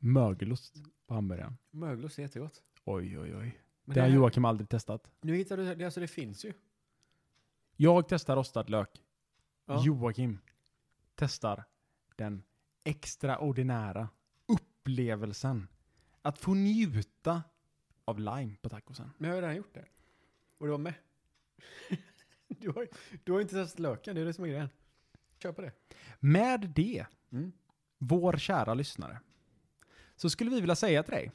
Mögelost på hamburgaren. Mögelost är jättegott. Oj, oj, oj. Men det har här- Joakim aldrig testat. Nu hittar du det, alltså det finns ju. Jag testar rostad lök. Ja. Joakim testar den extraordinära upplevelsen att få njuta av lime på tacosen. Men jag har ju redan gjort det. Och du var med. du, har, du har ju inte testat löken, det är det som är grejen. Kör på det. Med det, Mm. vår kära lyssnare, så skulle vi vilja säga till dig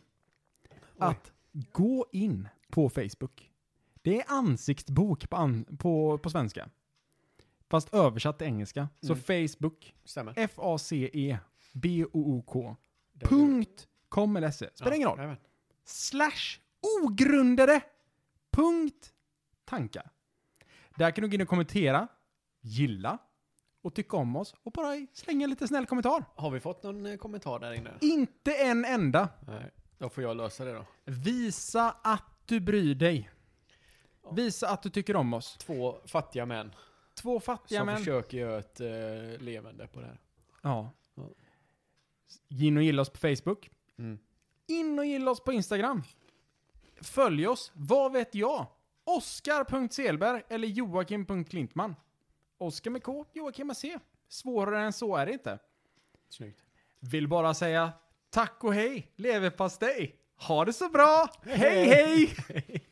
att gå in på Facebook. Det är ansiktsbok på, an- på, på svenska. Fast översatt till engelska. Mm. Så Facebook, Stämmer. E F-A-C-E-B-O-O-K. Där är det. Punkt com eller se. Spelar ingen Ja, roll. jajamän. Slash ogrundade. Punkt tankar. Där kan du gå in och kommentera, gilla och tycka om oss och bara slänga en liten snäll kommentar. Har vi fått någon eh, kommentar där inne? Inte en enda. Nej. Då får jag lösa det då. Visa att du bryr dig. Ja. Visa att du tycker om oss. Två fattiga män Två fattiga som män. försöker göra ett eh, levande på det här. Ja. Ja. In och gilla oss på Facebook. Mm. In och gilla oss på Instagram. Följ oss. Vad vet jag? Oskar.selberg eller Joakim.klintman. Oskar med K, Joakim med C. Svårare än så är det inte. Snyggt. Vill bara säga tack och hej, leverpastej. Ha det så bra. hej! hej.